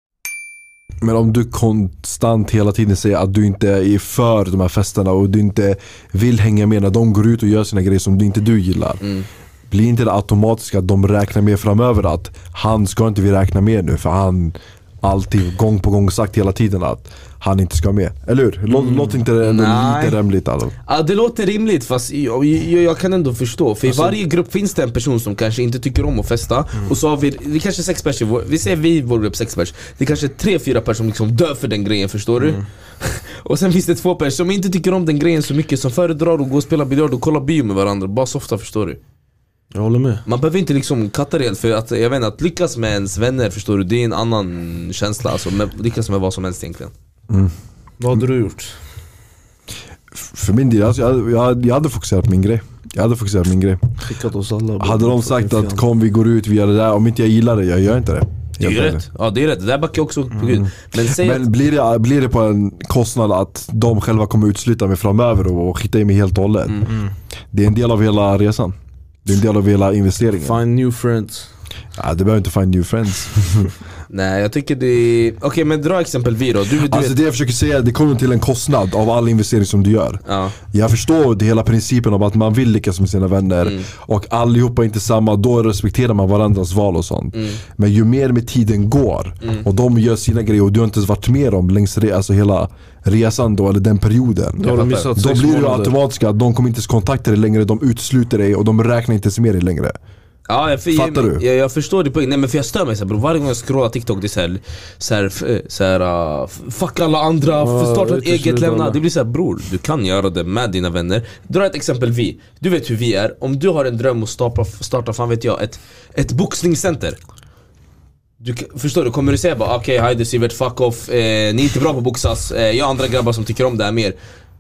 S1: Men om du konstant hela tiden säger att du inte är för de här festerna och du inte vill hänga med när de går ut och gör sina grejer som du inte du gillar.
S5: Mm.
S1: Blir inte det automatiskt att de räknar med framöver att han ska inte vi räkna med nu för han alltid gång på gång sagt hela tiden att han inte ska med. Eller hur? Lå- Låter inte det ändå
S5: Mm. Nej.
S1: lite rämligt alltså?
S5: Ja det låter rimligt fast jag, jag, jag kan ändå förstå För i varje grupp finns det en person som kanske inte tycker om att festa Och så har vi, vi kanske är sex pers i vår, vi säger vi i vår grupp sex pers Det är kanske är tre, fyra personer som liksom dör för den grejen förstår du? och sen finns det två personer som inte tycker om den grejen så mycket Som föredrar att gå och spela biljard och kolla bio med varandra, bara softa förstår du?
S3: Jag håller med.
S5: Man behöver inte liksom katta det helt, för att, jag vet inte, att lyckas med ens vänner förstår du Det är en annan känsla alltså, med, lyckas med vad som helst egentligen
S3: Vad hade du gjort?
S1: F- För min del, alltså, jag, jag, jag hade fokuserat på min grej. Jag hade fokuserat på min grej.
S3: Skickat oss alla.
S1: Hade de sagt att kom vi går ut, vi gör det där. Om inte jag gillar det, jag gör inte det.
S5: Det är
S1: Helt
S5: ju
S1: ärligt.
S5: rätt, ja det är rätt, det där backar jag också upp på gud Men säg att-
S1: Men blir det, blir det på en kostnad att de
S5: Mm,
S1: själva kommer utsluta mig framöver och skita i mig helt och hållet? Det är en del av hela resan. Det är en del av hela investeringen.
S3: Find new friends.
S1: Ja, du behöver inte find new friends.
S5: Nej jag tycker det är... Okej men dra exempel vi då. Du, du
S1: Alltså
S5: vet...
S1: det jag försöker säga, det kommer till en kostnad av all investering som du gör.
S5: Ja.
S1: Jag förstår det hela principen om att man vill lyckas med sina vänner
S5: Mm.
S1: och allihopa är inte samma, då respekterar man varandras val och sånt.
S5: Mm.
S1: Men ju mer med tiden går och de gör sina grejer och du har inte ens varit med dem längs re- alltså hela resan då, eller den perioden.
S3: Då har de missat
S1: Då
S3: sex
S1: blir det
S3: månader.
S1: automatiskt att de kommer inte ens kontakta dig längre, de utesluter dig och de räknar inte ens med dig längre.
S5: Ja, jag, för,
S1: Fattar du?
S5: Jag, jag förstår din poäng, nej men för jag stör mig så här, bro. varje gång jag scrollar TikTok det är såhär, så här, f- eh, så här, uh, f- fuck alla andra, f- starta ett
S3: jag vet inte
S5: eget,
S3: sluta
S5: lämna.
S3: alla.
S5: Det blir såhär bror, du kan göra det med dina vänner. Dra ett exempel vi, du vet hur vi är. Om du har en dröm att starta, starta fan vet jag, ett, ett boxningscenter. Du, k- förstår du, kommer du säga bara okej, hej du Sivert, fuck off, eh, ni är inte bra på att boxas, eh, jag har andra grabbar som tycker om det här mer.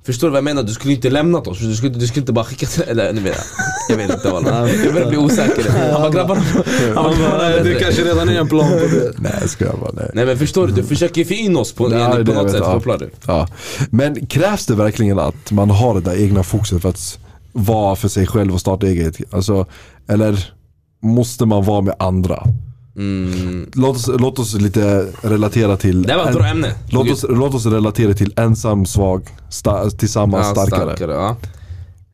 S5: Förstår du vad jag menar? Du skulle inte lämnat oss, du skulle, du skulle inte bara skicka till, eller nu vet jag, jag vet inte walla. Jag börjar bli osäker. Han bara grabbarna, han bara, grabbarna är
S3: Det
S5: bättre."
S3: kanske redan är en plan på det.
S1: Nej jag skojar bara, nej.
S5: Nej men förstår du, du försöker ju få in oss på,
S1: Ja,
S5: på
S1: det
S5: något
S1: vet
S5: sätt,
S1: jag.
S5: kopplar du?
S1: Ja. Men krävs det verkligen att man har det där egna fokuset för att s- vara för sig själv och starta eget? Alltså, eller måste man vara med andra?
S5: Mm.
S1: Låt oss, låt oss lite relatera till
S5: Det här var ett
S1: en-
S5: bra ämne.
S1: låt, oss, låt oss relatera till ensam, svag, sta, tillsammans,
S5: Ja,
S1: starkare.
S5: ja.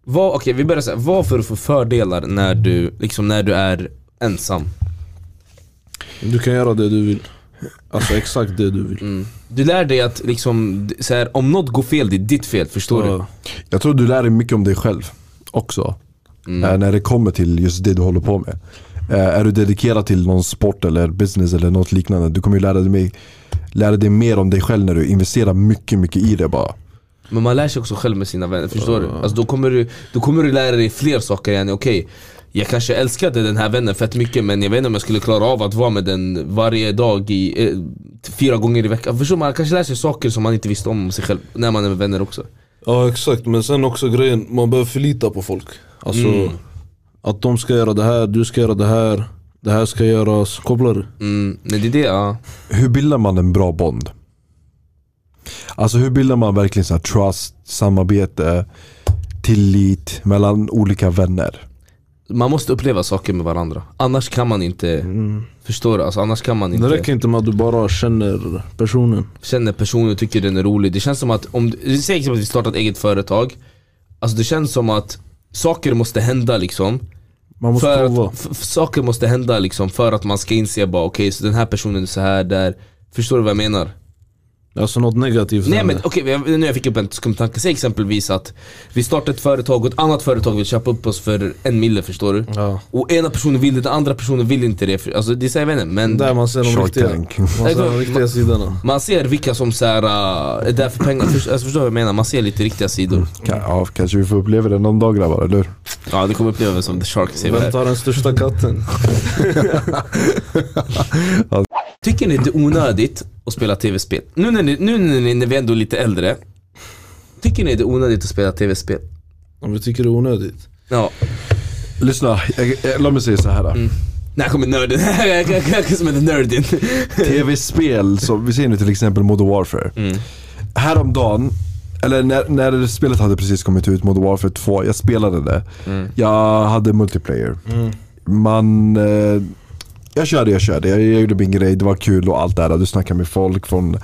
S5: Vad, okej vi börjar såhär, vad får du för fördelar när du, liksom när du är ensam?
S3: Du kan göra det du vill. Alltså exakt det du vill.
S5: Du lär dig att liksom, d- så här, om något går fel, det är ditt fel, förstår du?
S3: Ja.
S1: Jag tror du lär dig mycket om dig själv också. Eh, när det kommer till just det du håller på med. Eh, är du dedikerad till någon sport eller business eller något liknande. Du kommer ju lära dig, mer- lära dig mer om dig själv när du investerar mycket, mycket i det bara.
S5: Men man lär sig också själv med sina vänner, förstår du? Alltså då kommer du, då kommer du lära dig fler saker än okej Jag kanske älskade den här vännen fett mycket men jag vet inte om jag skulle klara av att vara med den varje dag i, eh, fyra gånger i veckan Förstår du? man kanske lär sig saker som man inte visste om sig själv när man är med vänner också
S3: Ja exakt, men sen också grejen, man behöver förlita på folk. Alltså att de ska göra det här, du ska göra det här, det här ska göras. Kopplar du?
S5: mm, Nej det är det ja
S1: Hur bildar man en bra bond? Alltså hur bildar man verkligen så här trust, samarbete, tillit mellan olika vänner?
S5: Man måste uppleva saker med varandra Annars kan man inte, förstår du? Alltså, annars kan man inte
S3: Mm. Det räcker inte med att du bara känner personen.
S5: känner personen och tycker den är rolig. Det känns som att, om du, säg exempelvis att vi startar ett eget företag. Alltså det känns som att saker måste hända liksom.
S3: Man måste
S5: för
S3: prova.
S5: att, f- f- saker måste hända liksom för att man ska inse bara okej så den här personen är så här där. Förstår du vad jag menar?
S3: Alltså något negativt
S5: Nej
S3: händer.
S5: men okej, jag- nu jag fick upp en skum tanke. Säg exempelvis att vi startar ett företag och ett annat företag vill köpa upp oss för en mille förstår du?
S3: Ja.
S5: Och ena personen vill det, den andra personen vill inte det. För- Alltså det säger jag vet inte, men
S3: Där man ser de
S1: Shark
S3: riktiga,
S1: Tank.
S3: man ser de riktiga sidorna.
S5: man ser vilka som så här, äh, är där för pengar. Först- Alltså, förstår du vad jag menar? Man ser lite riktiga sidor.
S1: Ka- ja, kanske vi får uppleva det någon dag grabbar, eller hur?
S5: Ja det kommer uppleva som The Shark säger
S3: Vem
S5: här.
S3: tar den största katten?
S5: Tycker ni det är onödigt att spela tv-spel? Nu när, ni, nu när, ni, när vi ändå är lite äldre Tycker ni det är onödigt att spela tv-spel?
S3: Om vi tycker det är onödigt.
S5: Ja,
S1: Lyssna, jag, jag, låt mig säga så här.
S5: när kommer nörden? Jag kan- jag kan som heter nörden
S1: Tv-spel, som vi ser nu till exempel Modern Warfare. Häromdagen, eller när, när spelet hade precis kommit ut, Modern Warfare 2, jag spelade det. Jag hade multiplayer. Man... Eh, jag körde, jag körde. Jag, jag gjorde min grej, det var kul och allt det där. Du snackade med folk från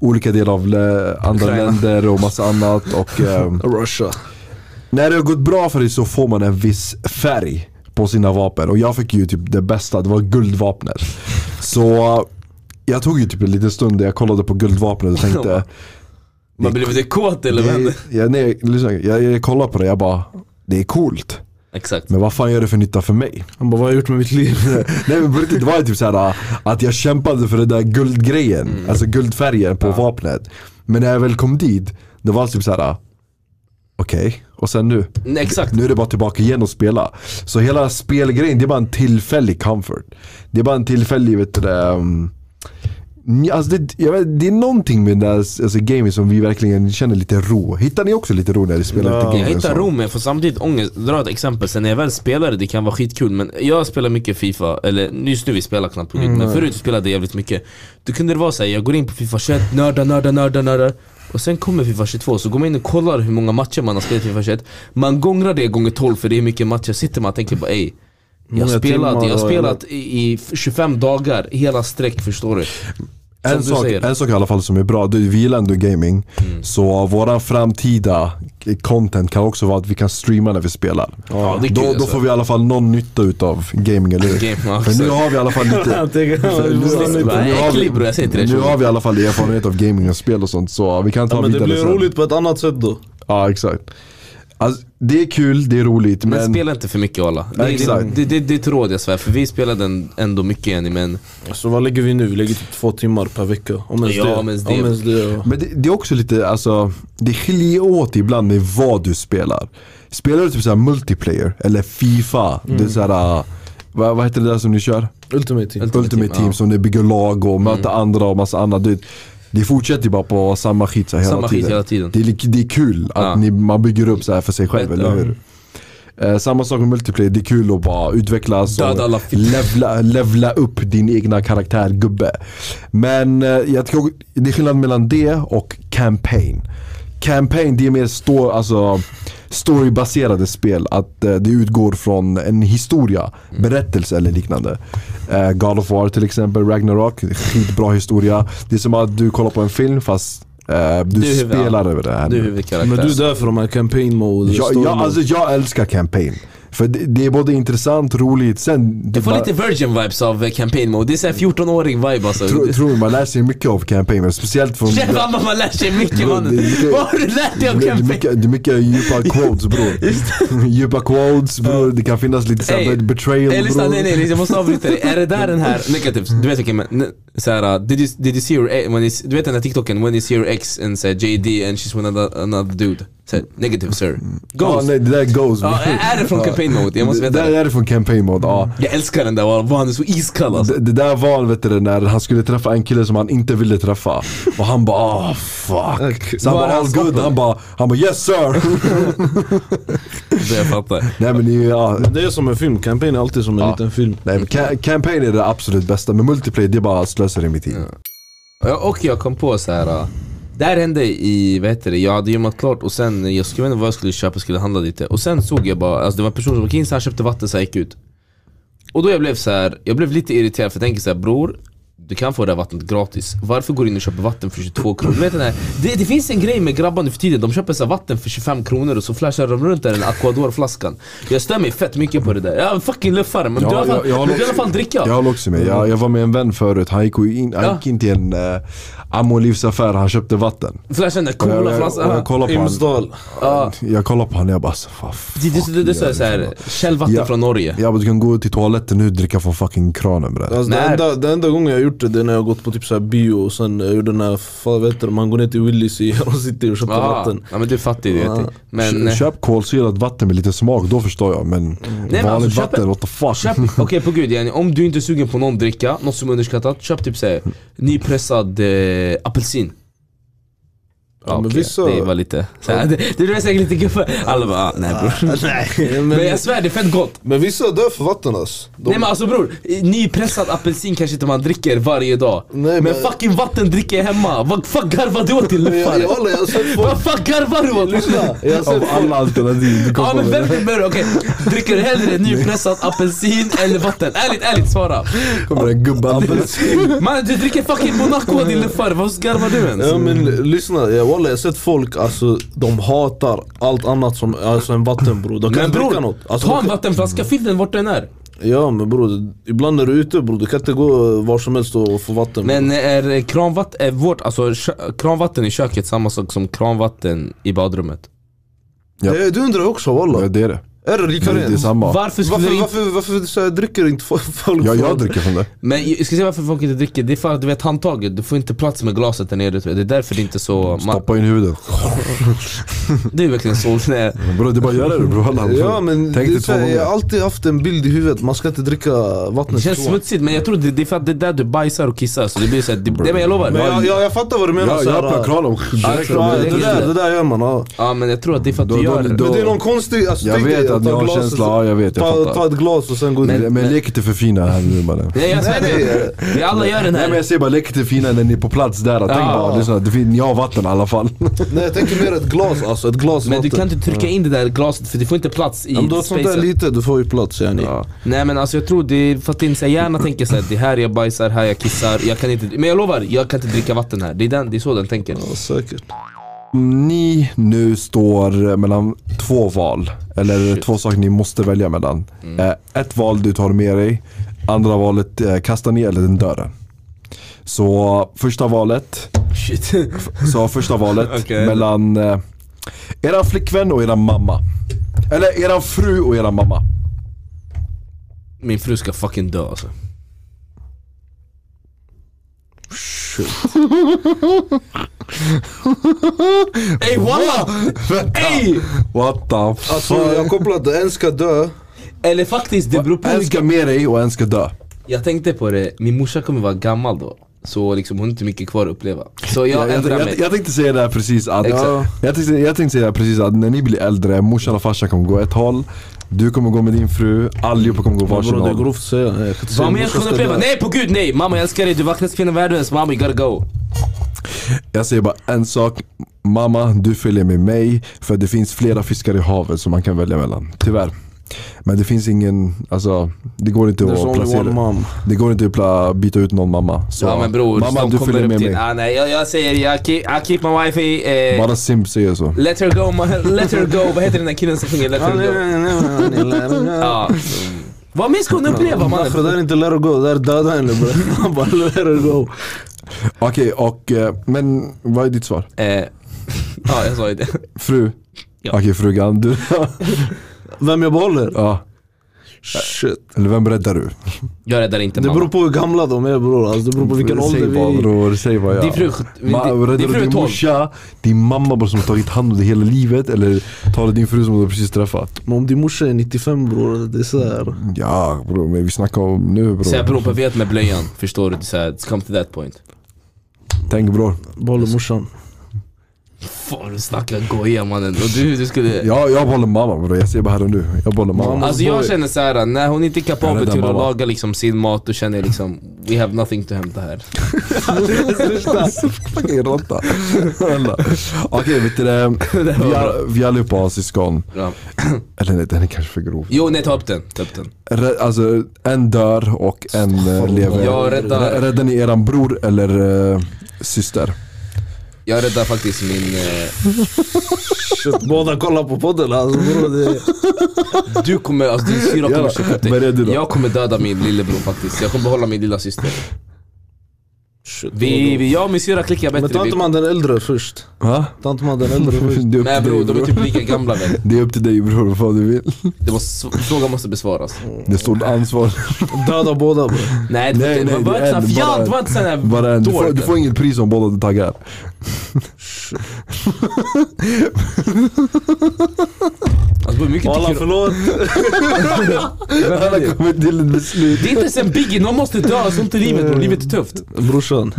S1: olika delar av lä- andra
S5: Ukraina.
S1: länder och massa annat. Och, ehm,
S3: Russia.
S1: när det har gått bra för dig så får man en viss färg på sina vapen. Och jag fick ju typ det bästa, det var guldvapnet. Så jag tog ju typ en liten stund där jag kollade på guldvapnet och tänkte
S5: Man blir lite kåt eller vad
S1: det,
S5: händer?
S1: jag, nej, lyssna, jag, jag kollade på det jag bara det är coolt,
S5: Exakt
S1: men vad fan gör det för nytta för mig?
S3: Han bara, vad har jag gjort med mitt liv?
S1: Nej men på riktigt, det var ju typ såhär att jag kämpade för den där guldgrejen,
S5: Mm.
S1: alltså guldfärgen på vapnet. Men när jag väl kom dit, det var typ såhär, okej, och sen nu?
S5: Nej, Exakt
S1: Nu är det bara tillbaka igen och spela. Så hela spelgrejen, det är bara en tillfällig comfort. Det är bara en tillfällig, vet du det, um, nj- alltså det, jag vet, det är någonting med den där alltså, gaming som vi verkligen känner lite ro. Hittar ni också lite ro när ni spelar lite gaming?
S5: Jag
S1: och
S5: hittar
S1: så?
S5: ro men jag får samtidigt ångest. Dra ett exempel, sen när jag väl spelade det kan vara skitkul men jag spelar mycket FIFA, eller just nu vi spelar knappt
S3: Mm,
S5: på nytt men förut spelade jag jävligt mycket. Då kunde det vara såhär, jag går in på FIFA 21, nördar, nördar, nördar, nördar. Och sen kommer Fifa 22, så går man in och kollar hur många matcher man har spelat i Fifa 21 Man gångrar det gånger 12 för det är mycket matcher, sitter man och tänker bara ey jag har
S3: Många
S5: spelat,
S3: timmar
S5: jag har
S3: och-
S5: spelat i, i 25 dagar, hela sträck förstår du Som
S1: En
S5: du
S1: sak,
S5: säger.
S1: en sak i alla fall som är bra, det är vi gillar ändå gaming.
S5: Mm.
S1: Så våran framtida eh, content kan också vara att vi kan streama när vi spelar.
S5: Ja, det är kul,
S1: då, då
S5: alltså.
S1: får vi i alla fall någon nytta utav gaming, eller hur?
S5: Game, ja,
S1: För nu
S5: exakt.
S1: har vi i alla fall lite...
S5: Du bara,
S1: Nu har vi-
S5: äcklig bror, jag säger inte det
S1: Nu
S5: tjej.
S1: har vi i alla fall erfarenhet av gaming och spel och sånt så vi kan ta
S3: Ja, men
S1: vidare
S3: det blir
S1: sen.
S3: roligt på ett annat sätt då.
S1: Ja exakt. Alltså, det är kul, det är roligt
S5: Men
S1: men,
S5: spela inte för mycket alla. Det, det,
S1: exakt.
S5: det, det, det är ett råd jag svär, för vi spelade en- ändå mycket Jenny men
S3: Så vad lägger vi nu? Vi lägger typ två timmar per vecka. Om ens
S5: Ja,
S3: det.
S5: om ens det.
S3: Om ens det.
S1: men det, det är också lite, alltså det skiljer åt ibland med vad du spelar. Spelar du typ såhär multiplayer eller FIFA, det är såhär, äh, vad, vad heter det där som ni kör?
S3: Ultimate team.
S1: Ultimate, Team, som det bygger lag
S5: Mm.
S1: och möter andra och massa annat. Det, det fortsätter ju bara på samma skit så här hela
S5: Samma skit
S1: tiden.
S5: hela tiden.
S1: Det, är, li- det är kul att
S5: Ja.
S1: ni, man bygger upp så här för sig själv,
S5: Men,
S1: eller
S5: ja.
S1: hur? Eh, samma sak med multiplayer, det är kul att bara utvecklas och
S5: Döda alla fitt-
S1: levla, levla upp din egna karaktär, gubbe. Men eh, jag tycker också- det är skillnad mellan det och campaign. Campaign det är mer sto- alltså, storybaserade spel, att eh, det utgår från en historia,
S5: Mm.
S1: berättelse eller liknande. Eh, God of War till exempel, Ragnarok, skitbra historia. Det är som att du kollar på en film fast eh, du,
S5: Du är huvud-
S1: spelar över det här.
S5: du är
S1: nu.
S5: huvudkaraktär.
S3: Men du är där för de här campaign mode.
S1: Ja,
S3: story
S1: ja,
S3: mode.
S1: alltså jag älskar campaign. För det, det är både intressant, roligt, sen... det
S5: Du får
S1: bara-
S5: lite virgin vibes av eh, campaign mode, det är såhär 14-åring vibe alltså.
S1: Tro,
S5: Du-
S1: tror mig, man lär sig mycket av campaign, men speciellt från...
S5: Shit mamma man lär sig mycket
S1: Det-
S5: mannen.
S1: det- det-
S5: Vad har du lärt dig
S1: Det
S5: om
S1: är
S5: campaign?
S1: mycket, det är mycket djupa quotes bror. djupa quotes bror, det kan finnas lite såhär
S5: Ey,
S1: betrayal
S5: Eh, lyssna,
S1: bror.
S5: nej nej, nej, jag måste avbryta dig. Är det där den här, negativt, du vet vilken, men, ne- såhär, uh, did, you, did you see your ex, when you, s- du vet den här TikToken, when you see your ex and say JD and she's with another, another dude. Såhär, negative sir.
S1: Mm. Ja,
S5: Ghost.
S1: nej, det där är ghost
S5: Ja, är är det från campaign mode? Jag måste
S1: det
S5: veta
S1: där
S5: det.
S1: är det från campaign mode, ja.
S5: Jag älskar den där, vad vad han är så iskall alltså.
S1: Det, det där var vet du, när han skulle träffa en kille som han inte ville träffa. Och han bara ah fuck. Så han
S5: Var
S1: bara
S5: är
S1: all
S5: han
S1: good, han bara han bara yes sir.
S5: Det jag fattar.
S1: nej men det är ju, ja,
S3: Det är som en film, campaign är alltid som en liten film.
S1: Nej, men ca- campaign är det absolut bästa, men multiplayer det är bara slösar i min tid.
S5: Ja, Och jag kom på så här. äh, Det här hände i, vad heter det, jag hade gymmat klart och sen, jag skulle inte vad jag skulle köpa, skulle handla lite Och sen såg jag bara, alltså det var en person som var kins, han köpte vatten så jag gick ut Och då jag blev så här, jag blev lite irriterad för jag tänker så här, bror du kan få det här vattnet gratis, varför går du in och köper vatten för 22 kronor? Du vet den här, det, det finns en grej med grabbar nu för tiden, de köper så här vatten för 25 kronor och så flashar de runt där den Aquador-flaskan Jag stör mig fett mycket på det där, jag är en fucking luffare men
S1: Ja,
S5: du, i alla fall,
S1: jag- jag har
S5: du kan i
S1: också-
S5: alla fall dricka
S1: Jag håller också med, jag, jag var med en vän förut, han gick, ju in, han
S5: Ja.
S1: gick in till en äh, Amolivsaffär, han köpte vatten.
S5: Flasha den där
S1: Och jag,
S5: coola
S1: jag, och
S5: flaskan
S1: jag kollade på honom
S3: Imsdal.
S5: Ja.
S1: jag kollade på han och jag bara så, vad fuck
S5: Det, det, det, det, det är
S1: gör
S5: såhär,
S1: du?"
S5: källvatten
S1: Ja.
S5: från Norge.
S1: Jag bara du kan gå till toaletten nu och dricka från fucking kranen bre.
S3: Alltså, det,
S5: Nej.
S3: enda, det enda gången jag har gjort det, det är när jag har gått på typ så här bio och sen eh, gjorde den här, fan, vad heter det, man går ner till Willys i Heron City och köper
S5: Ah,
S3: vatten.
S5: ja men du är fattig du vet. Men
S1: Kö-
S5: eh,
S1: Köp kolsyrat vatten med lite smak, då förstår jag men vanligt
S5: men alltså, köp-
S1: vatten, what the fuck.
S5: köp, okej på gud Jenny, om du inte är sugen på någon dricka, något som är underskattat, köp typ såhär nypressad eh, apelsin.
S3: Ja, men
S5: okej,
S3: vissa-
S5: Det var lite, såhär, det, det blev säkert lite gubbe. Alla bara, ah, nej bror.
S6: Nej.
S5: Men jag svär det är fett gott.
S3: Men vissa dör för vatten alltså. De,
S5: Nej men alltså bror, eh, nypressad apelsin kanske inte man dricker varje dag.
S3: Nej,
S5: men,
S3: men-
S5: fucking vatten dricker jag hemma. Vad fuck garvar du åt din
S3: jag, jag
S5: luffare?
S3: håller, jag har sett folk...
S5: Vad fuck garvar du åt?
S3: Lyssna! Jag har
S1: Av
S3: sett folk...
S1: alla alternativ, du
S5: Ja
S1: kommer
S5: men
S1: med
S5: vem vill börja? Okej, dricker du hellre nypressad apelsin eller vatten? Ärligt, ärligt svara!
S1: kommer en gubbe apelsin.
S5: Man, du dricker fucking Monaco din luffar, varför garvar du ens?
S3: Ja men lyssna, jag, wallah, jag har sett folk alltså, de hatar allt annat som alltså, en vatten bror. De kan
S5: Men
S3: inte dricka
S5: bror,
S3: något. Alltså,
S5: ta
S3: de
S5: en
S3: kan,
S5: vattenflaska, fyll den vart den är
S3: ja men bror, ibland när du är ute bror, du kan inte gå var som helst och få vatten.
S5: Men är kranvatten, är vårt, alltså kö- kranvatten i köket samma sak som kranvatten i badrummet?
S1: Ja.
S3: Det- Eh, du undrar också
S1: Ja,
S3: wallah.
S1: det är det.
S3: Är det lika
S1: Det, det är
S3: rent?
S1: samma.
S5: Varför skulle
S3: Varför,
S5: du inte...
S3: varför, varför så här, dricker inte fo- folk?
S1: Ja, jag
S3: vatten?
S1: dricker från det.
S5: Men jag ska säga varför folk inte dricker, det är för att du vet handtaget, du får inte plats med glaset där nere tror jag. Det är därför det är inte så... Man,
S1: Stoppa in huvudet.
S5: det är verkligen så... Nej.
S1: Bro, det är bara att göra det bror.
S3: Ja men
S1: Tänk
S3: det är
S1: dig
S3: så
S1: två
S3: här, jag
S1: gånger.
S3: har alltid haft en bild i huvudet, man ska inte dricka vattnet
S5: Det känns
S3: så.
S5: smutsigt men jag tror det, det är för att det är där du bajsar och kissar så det blir såhär, det, det, men jag lovar
S3: Men jag, jag, jag fattar vad du menar
S1: Ja,
S3: så
S1: jag
S3: här,
S1: öppnar kranen.
S3: Ja,
S1: direkt.
S3: det,
S5: det
S3: där,
S5: där-
S3: det där gör man ja.
S5: Ja men jag tror att det är för att
S1: Då-
S5: du
S1: då-
S5: gör
S1: då-
S5: det
S3: Men det är någon konstig, alltså,
S1: Jag
S3: tänk dig,
S1: vet
S3: ta
S1: att ni har en
S3: glaset,
S1: känsla, ja jag vet, jag
S3: Ta, ta
S1: fattar.
S3: ett glas och sen gå
S1: Men,
S3: ut.
S1: men lek inte för fina här nu mannen.
S5: Nej, jag svär, vi alla gör den
S1: Nej men
S5: här.
S1: jag säger bara, lek inte för fina när ni är på plats där. Tänk bara, lyssna, det finns, ni har vatten i alla fall.
S3: Nej jag tänker mer ett glas alltså, ett glas
S5: Men du
S3: vatten.
S5: kan inte trycka in det där glaset för det får inte plats i
S3: Ja, men du har ett sånt där
S5: spacen.
S3: lite, du får ju plats yani.
S5: Nej men alltså jag tror det är för att din så här hjärna tänker såhär Det här jag bajsar, här jag kissar, jag kan inte Men jag lovar, jag kan inte dricka vatten här Det är, den, det är så den tänker
S3: Ja, säkert.
S1: Ni nu står mellan två val, eller två saker ni måste välja mellan. Eh, Ett val du tar med dig, andra valet eh, kasta ner eller den dörren. Så första valet,
S5: Shit
S1: så första valet
S5: Okej.
S1: mellan eh, era flickvän och era mamma. Eller era fru och era mamma.
S5: Min fru ska fucking dö alltså Shit Ey walla! Ey!
S1: What the fuck?
S3: Alltså jag kopplade, en ska dö.
S5: Eller faktiskt det beror på
S1: en ska med dig och en ska dö.
S5: Jag tänkte på det, min morsa kommer vara gammal då Så liksom hon har inte mycket kvar att uppleva Så jag
S1: Jag, jag,
S5: ändrar
S1: jag,
S5: mig
S1: jag tänkte säga det här precis att,
S5: Exakt.
S1: jag, tänkte, jag tänkte säga det här precis att när ni blir äldre, morsan och farsan kommer gå ett håll Du kommer gå med din fru, allihopa kommer gå varsin
S3: Bror det är
S1: håll
S3: grovt att säga. Jag kan inte säga
S5: Vad
S3: att
S5: mer
S3: morsan
S5: ska hon
S3: ska
S5: uppleva?
S3: dö.
S5: Nej på gud nej! Mamma jag älskar dig, du är vackraste kvinnan i världen, så mamma you gotta go
S1: Jag säger bara en sak Mamma, du följer med mig för det finns flera fiskar i havet som man kan välja mellan Tyvärr Men det finns ingen, alltså det går inte
S3: There's
S1: att
S3: only one
S1: placera
S3: mom.
S1: Det går inte att pla- byta ut någon mamma Så
S5: Ja men bror,
S1: mamma
S5: de
S1: du
S5: kommer
S1: följer
S5: upp
S1: med
S5: till-
S1: mig
S5: Ah, nej, jag, jag säger, jag keep, I keep my wifey eh,
S1: Bara Simp säger så
S5: Let her go, ma- let her go, vad heter den där killen som sjunger let her go? Ja. Vad mer ska hon uppleva mannen?
S3: Därför det där är inte let her go, det där är döda henne bre. Bara let her go.
S1: Okej och, eh, men vad är ditt svar?
S5: Eh, ja jag sa ju det
S1: Fru?
S5: Ja.
S1: Okej frugan, du,
S3: Vem jag behåller?
S1: ja
S3: Shit.
S1: Eller vem räddar du?
S5: Jag räddar inte
S3: Det
S5: mamma
S3: beror på hur gamla de är bror. Alltså, det beror på vilken ålder
S1: säg
S3: vi
S1: vad,
S3: är i.
S1: bror, säg vad jag...
S5: Din fru, din,
S1: Ma,
S5: din,
S1: räddar
S5: din
S1: du
S5: fru är
S1: din
S5: 12
S1: morsa, din mamma bara som har tagit hand om dig hela livet eller tar du din fru som du precis träffat?
S3: Men om din morsa är 95 bror, det är såhär.
S1: Ja bror, men vi snackar om nu bror.
S5: Såhär bror, på vet med blöjan, förstår du? Såhär, it's come to that point
S1: Tänk bror.
S3: Behåller morsan.
S5: Fan du snackar goja mannen, och du, du skulle
S1: Jag, jag behåller mamma bror, jag säger bara här och nu. Jag behåller mamma.
S3: Mamma.
S5: Alltså jag känner så här, när hon inte är
S1: Jag
S5: kapabel
S1: räddar
S5: till att
S1: mamma.
S5: laga liksom sin mat, då känner jag liksom We have nothing to hämta här
S1: Fucking råtta. Alla. Okej vet du det, vi, all, vi allihopa har syskon.
S5: ja.
S1: Eller nej den är kanske för grov.
S5: Jo nej ta upp den, ta upp den
S1: Rä- Alltså en dör och en eh, lever.
S5: Jag
S1: Rä-
S5: räddar,
S1: Räddar ni eran bror eller eh, syster?
S5: jag räddar faktiskt min... Eh,
S3: Shit, båda kollar på podden alltså bror. Det är...
S5: du kommer, alltså din syra kommer
S1: Jävlar,
S5: checka upp
S1: vad är det
S5: dig
S1: då?
S5: Jag kommer döda min lillebror faktiskt, jag kommer behålla min lilla syster
S3: Shit,
S5: Vi, vi, jag och min syra klickar
S3: Men
S5: bättre
S3: tar inte
S5: vi,
S3: man den äldre först?
S1: Va?
S3: Tar inte man den äldre först?
S1: Det är upp
S5: Nej
S1: till
S5: bror,
S1: dig,
S5: de är
S1: bror.
S5: typ lika gamla väl?
S1: Det är upp till dig bror vad fan du vill.
S5: Det måste, frågan måste besvaras
S1: Det är stort ansvar.
S3: Döda båda bror.
S5: Nej, det
S1: Nej,
S5: var inte-
S1: nej,
S5: var
S1: det
S5: inte
S1: är
S5: sån
S1: en,
S5: här
S1: bara
S5: fjant,
S1: en.
S5: var inte sån här
S1: Bara en. Du, får,
S5: dork.
S1: du får inget pris om båda taggar.
S5: Alltså, det är mycket
S3: Walla
S5: tycker-
S3: förlåt.
S1: Alla kommer till ett beslut.
S5: Det är inte ens en biggie, någon måste dö, sånt är livet bror, livet är tufft
S3: Brorsan.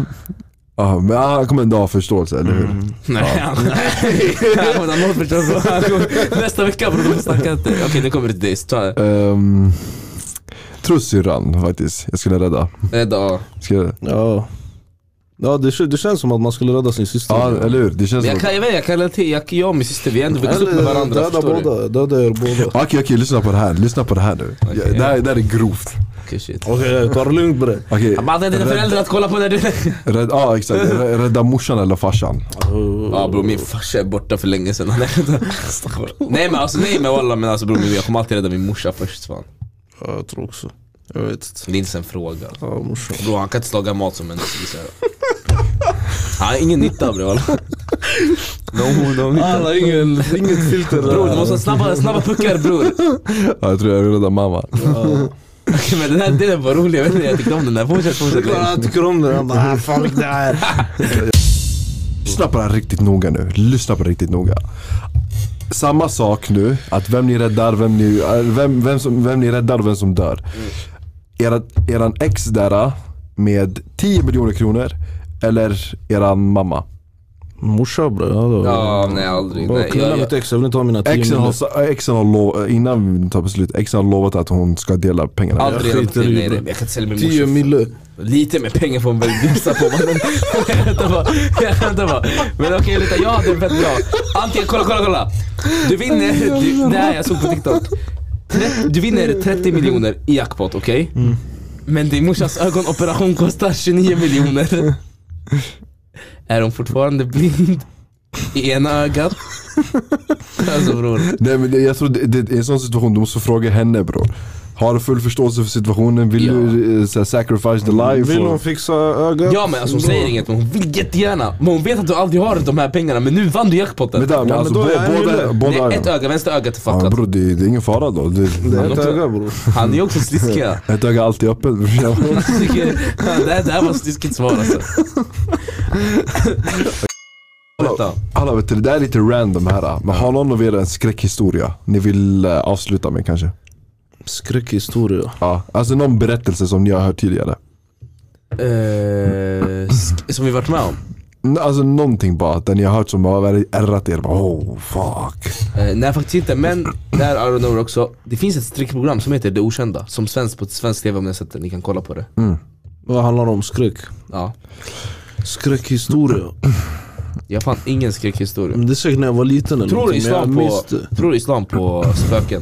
S1: Ja, men han kommer ändå ha förståelse, eller hur?
S5: Mm. Nej, han- nej, men han har förstås han kommer- Nästa vecka bror, de snackar inte Okej nu kommer det till dig, så ta-
S1: Um, tror syrran faktiskt. Jag skulle rädda.
S5: rädda av.
S1: Jag Skulle,
S3: Ja. Ja det, kän- det känns som att man skulle rädda sin syster.
S1: ja, eller hur? Det känns
S5: Men
S1: som...
S5: jag
S1: Okej,
S5: kan, jag vet, jag kan relatera, jag, jag och min syster vi har ändå vuxit upp med
S3: Eller
S5: varandra
S3: döda
S5: förstår du?
S3: båda. Döda er båda.
S1: okej, lyssna på det här. Lyssna på det här nu.
S5: Okej.
S1: Ja, det, här, det här är grovt.
S5: Okej shit
S3: Okej, ta det lugnt bre.
S1: Okej,
S5: Man hade dina föräldrar att kolla på när du...
S1: rädd, ja, exakt. Rä- Rädda morsan eller farsan.
S5: Ja bror min farsa är borta för länge sedan Nej men alltså nej men walla men alltså bror jag kommer alltid rädda min morsa först fan
S3: Ja, jag tror också. Jag vet inte.
S5: Det är inte ens en fråga
S3: Ja morsan.
S5: Bror han kan inte laga mat som människa så här. Han har ingen nytta bror walla
S3: Oh, Alla ingen, inget filter där.
S5: Bror du måste ha snabba, snabba puckar bror
S1: Ja, jag tror jag räddar mamma.
S5: Okej, Men den här delen var rolig, jag vet inte jag tyckte om den där, fortsätt
S3: Det är
S5: fortsätt
S3: klart han tycker om det. Han bara, "Ah, fan vilket det här.
S1: Lyssna på det här riktigt noga nu. Lyssna på det riktigt noga. Samma sak nu, att vem ni räddar, vem ni, äh, vem, vem som, vem ni räddar och vem som dör. Era, eran ex där med 10 miljoner kronor eller eran mamma.
S3: Morsa bror. Ja, då.
S5: Ja, nej aldrig.
S3: Bara
S5: Nej,
S3: knulla
S5: jag,
S3: mitt
S5: jag,
S3: ex, jag vill inte ha mina tio
S1: Exen har,
S3: minuter.
S1: sa- äh, exen har lovat, innan vi tar beslut, exen har lovat att hon ska dela pengarna.
S5: aldrig.
S3: Jag
S5: Jag,
S3: skiter i
S5: nej, nej,
S3: det.
S5: nej, jag kan inte sälja min
S3: Tio
S5: morsa.
S3: mille.
S5: Lite mer pengar får man väl bjussa på. mannen. Jag skämtar bara. Jag skämtar bara. Men okej, vänta. Jag hade en fett bra. Antingen, kolla, kolla, kolla. Du vinner, du, det här jag såg på TikTok. Tre- Du vinner 30 miljoner i jackpot, okej? Men din morsas ögonoperation kostar 29 miljoner. Är hon fortfarande blind i ena ögat? Alltså bror.
S1: Nej, men det, jag tror det, det är en sån situation, du måste fråga henne bror. Har du full förståelse för situationen? Vill
S5: Ja.
S1: du eh, så här, sacrifice the life?
S3: Mm. Vill
S1: Och-
S3: hon fixa ögat?
S5: Ja men alltså hon säger inget men hon vill jättegärna. Men hon vet att du aldrig har de här pengarna men nu vann du jackpotten.
S1: Vänta, men
S3: men
S1: alltså,
S3: då är
S1: bå-
S3: han ju
S1: båda,
S3: det.
S1: båda
S5: Nej, ett
S1: ögonen.
S5: öga, vänster ögat är
S1: Ja,
S5: fuckat.
S1: bror, det, det är ingen fara då. Det,
S3: Det är
S5: Han
S3: ett
S5: också-
S3: öga bror.
S5: Han är ju också sliskiga.
S1: ett öga är alltid öppet. bror.
S5: Jag tycker- det, här, det här var sliskigt svar alltså. Vänta.
S1: Alla vet du, det där är lite random här. ah. Men har någon av er en skräckhistoria ni vill eh, avsluta med kanske?
S3: Skräckhistoria.
S1: Ja, alltså någon berättelse som ni har hört tidigare.
S5: Eh, sk- som vi varit med om.
S1: N- Alltså någonting bara, den ni har hört som har varit- ärrat er. Bara, oh fuck.
S5: Eh, nej faktiskt inte, men där I don't know också. Det finns ett strickprogram som heter Det Okända. Som sänds på svensk tv om ni har sett det, ni kan kolla på det.
S1: Mm.
S3: Vad handlar det om? Skräck?
S5: Ja.
S3: Skräckhistoria?
S5: Jag fann ingen skräckhistoria.
S3: Men det är säkert när jag var liten eller
S5: Tror du
S3: någonting,
S5: islam
S3: men jag
S5: på,
S3: minns det.
S5: tror du islam på spöken?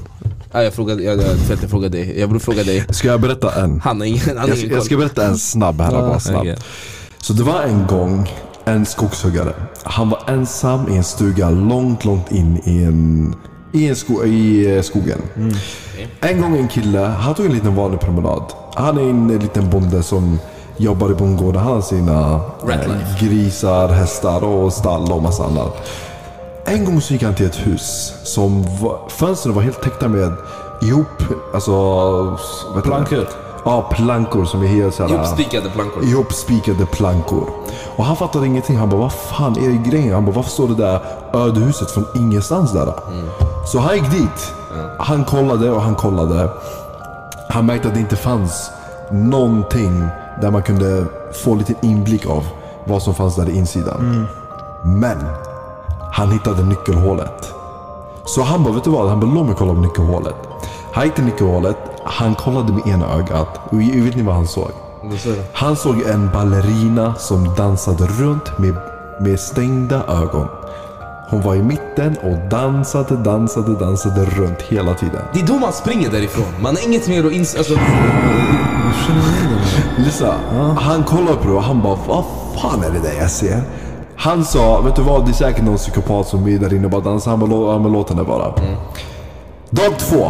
S5: Nej jag frågade, jag, jag, fel, jag frågade dig. Jag borde fråga dig.
S1: Ska jag berätta en?
S5: Han har ingen, han
S1: Jag
S5: har
S1: ska,
S5: ingen
S1: jag ska
S5: koll.
S1: berätta en snabb här bara snabbt.
S5: okej.
S1: Så det var en gång en skogshuggare. Han var ensam i en stuga långt, långt in i en, i en sko, i eh, skogen.
S5: Mm.
S1: En gång en kille, han tog en liten vanlig promenad. Han är en liten bonde som jobbar i bondgården. Han har sina eh,
S5: Rat
S1: grisar, hästar och stall och massa annat. En gång så gick han till ett hus som var, fönstren var helt täckta med ihop, alltså... vad heter det?
S3: Plankor.
S1: Ja, plankor som är helt såhär...
S5: Ihopspikade plankor.
S1: Ihopspikade plankor. Och han fattade ingenting. Han bara, vad fan är det grejen? Han bara, varför står det där ödehuset från ingenstans där? Så han gick dit. Han kollade och han kollade. Han märkte att det inte fanns någonting där man kunde få lite inblick av vad som fanns där i insidan. Men han hittade nyckelhålet. Så han bara, vet du vad? Han bara, låt mig kolla på nyckelhålet. Han gick till nyckelhålet, han kollade med ena ögat. Och vet ni vad han såg? Han såg en ballerina som dansade runt med, med stängda ögon. Hon var i mitten och dansade, dansade, dansade runt hela tiden.
S5: Det är då man springer därifrån. Man har inget mer att inse. Alltså,
S1: Lisa, han kollade på det och han bara Vad fan är det där jag ser? Han sa, vet du vad? Det är säkert någon psykopat som är där inne och bara dansar. Han bara, "Lå- ja, men låt henne bara. Dag två.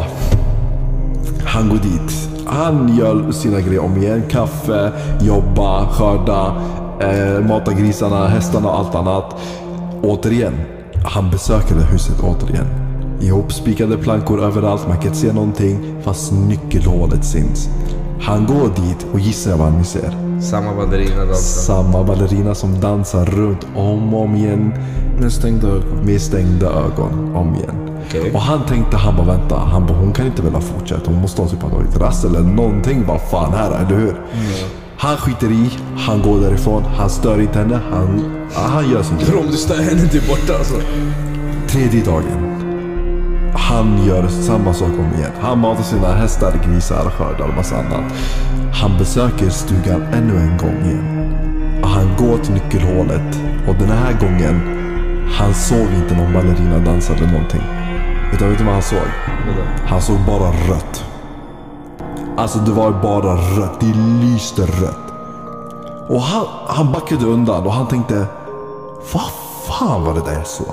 S1: Han går dit. Han gör sina grejer om igen. Kaffe, jobba, skörda, eh, mata grisarna, hästarna och allt annat. Återigen, han besöker det huset återigen. Ihopspikade plankor överallt, man kan inte se någonting fast nyckelhålet syns. Han går dit och gissar vad han ser.
S5: Samma ballerina dansar.
S1: Samma ballerina som dansar runt om och om igen
S3: Med stängda ögon.
S1: med stängda ögon om igen. Och han tänkte, han bara vänta, han bara, hon kan inte väl ha fortsatt. Hon måste ha typ ha tagit rast eller någonting. Vad fan här, eller hur? Han skiter i, han går därifrån, han stör inte henne, han, han gör sin grej.
S5: Om du stör henne, du är borta alltså.
S1: Tredje dagen. Han gör samma sak om igen. Han matar sina hästar, grisar, skördar och massa annat. Han besöker stugan ännu en gång igen. Han går till nyckelhålet och den här gången, han såg inte någon ballerina dansa eller någonting. Utan vet du vad han såg? Han såg bara rött. Alltså det var bara rött. Det lyste rött. Och han, han backade undan och han tänkte, vad fan var det där jag såg?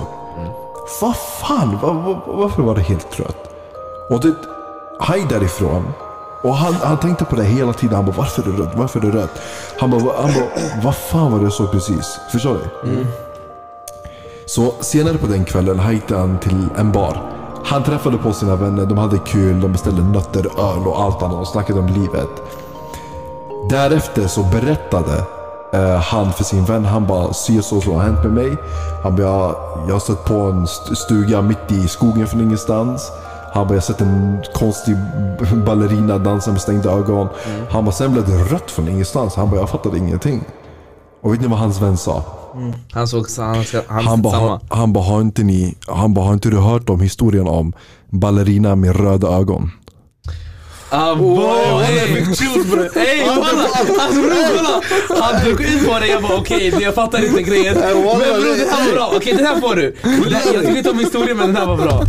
S1: Vad fan, va, va, varför var det helt trött? Och det, han gick därifrån. Och han, han tänkte på det hela tiden. Han bara, varför är det rött? Varför är det rött? Han bara, va- han bara vad fan var det jag såg precis? Förstår du? Så senare på den kvällen han gick han till en bar. Han träffade på sina vänner, de hade kul, de beställde nötter, öl och allt annat och snackade om livet. Därefter så berättade eh, han för sin vän, han bara si och så och så har hänt med mig. Han bara, jag, jag har stött på en st- stuga mitt i skogen från ingenstans. Han bara, jag har sett en konstig ballerina dansa med stängda ögon. Han bara, sen blev det rött från ingenstans. Han bara, jag fattade ingenting. Och vet ni vad hans vän sa?
S5: Han såg han, ska- han,
S1: Han bara,
S5: samma.
S1: har- han bara, har inte ni, han bara, har inte du hört om historien om ballerina med röda ögon?
S5: Ah, boy! Hey. Ey walla! Hans bror "Ah, kolla! Han drog ut på det, jag bara okej jag fattar inte grejen. Men bror det här var bra, okej den här får du! Jag tycker inte om historien men den här var bra.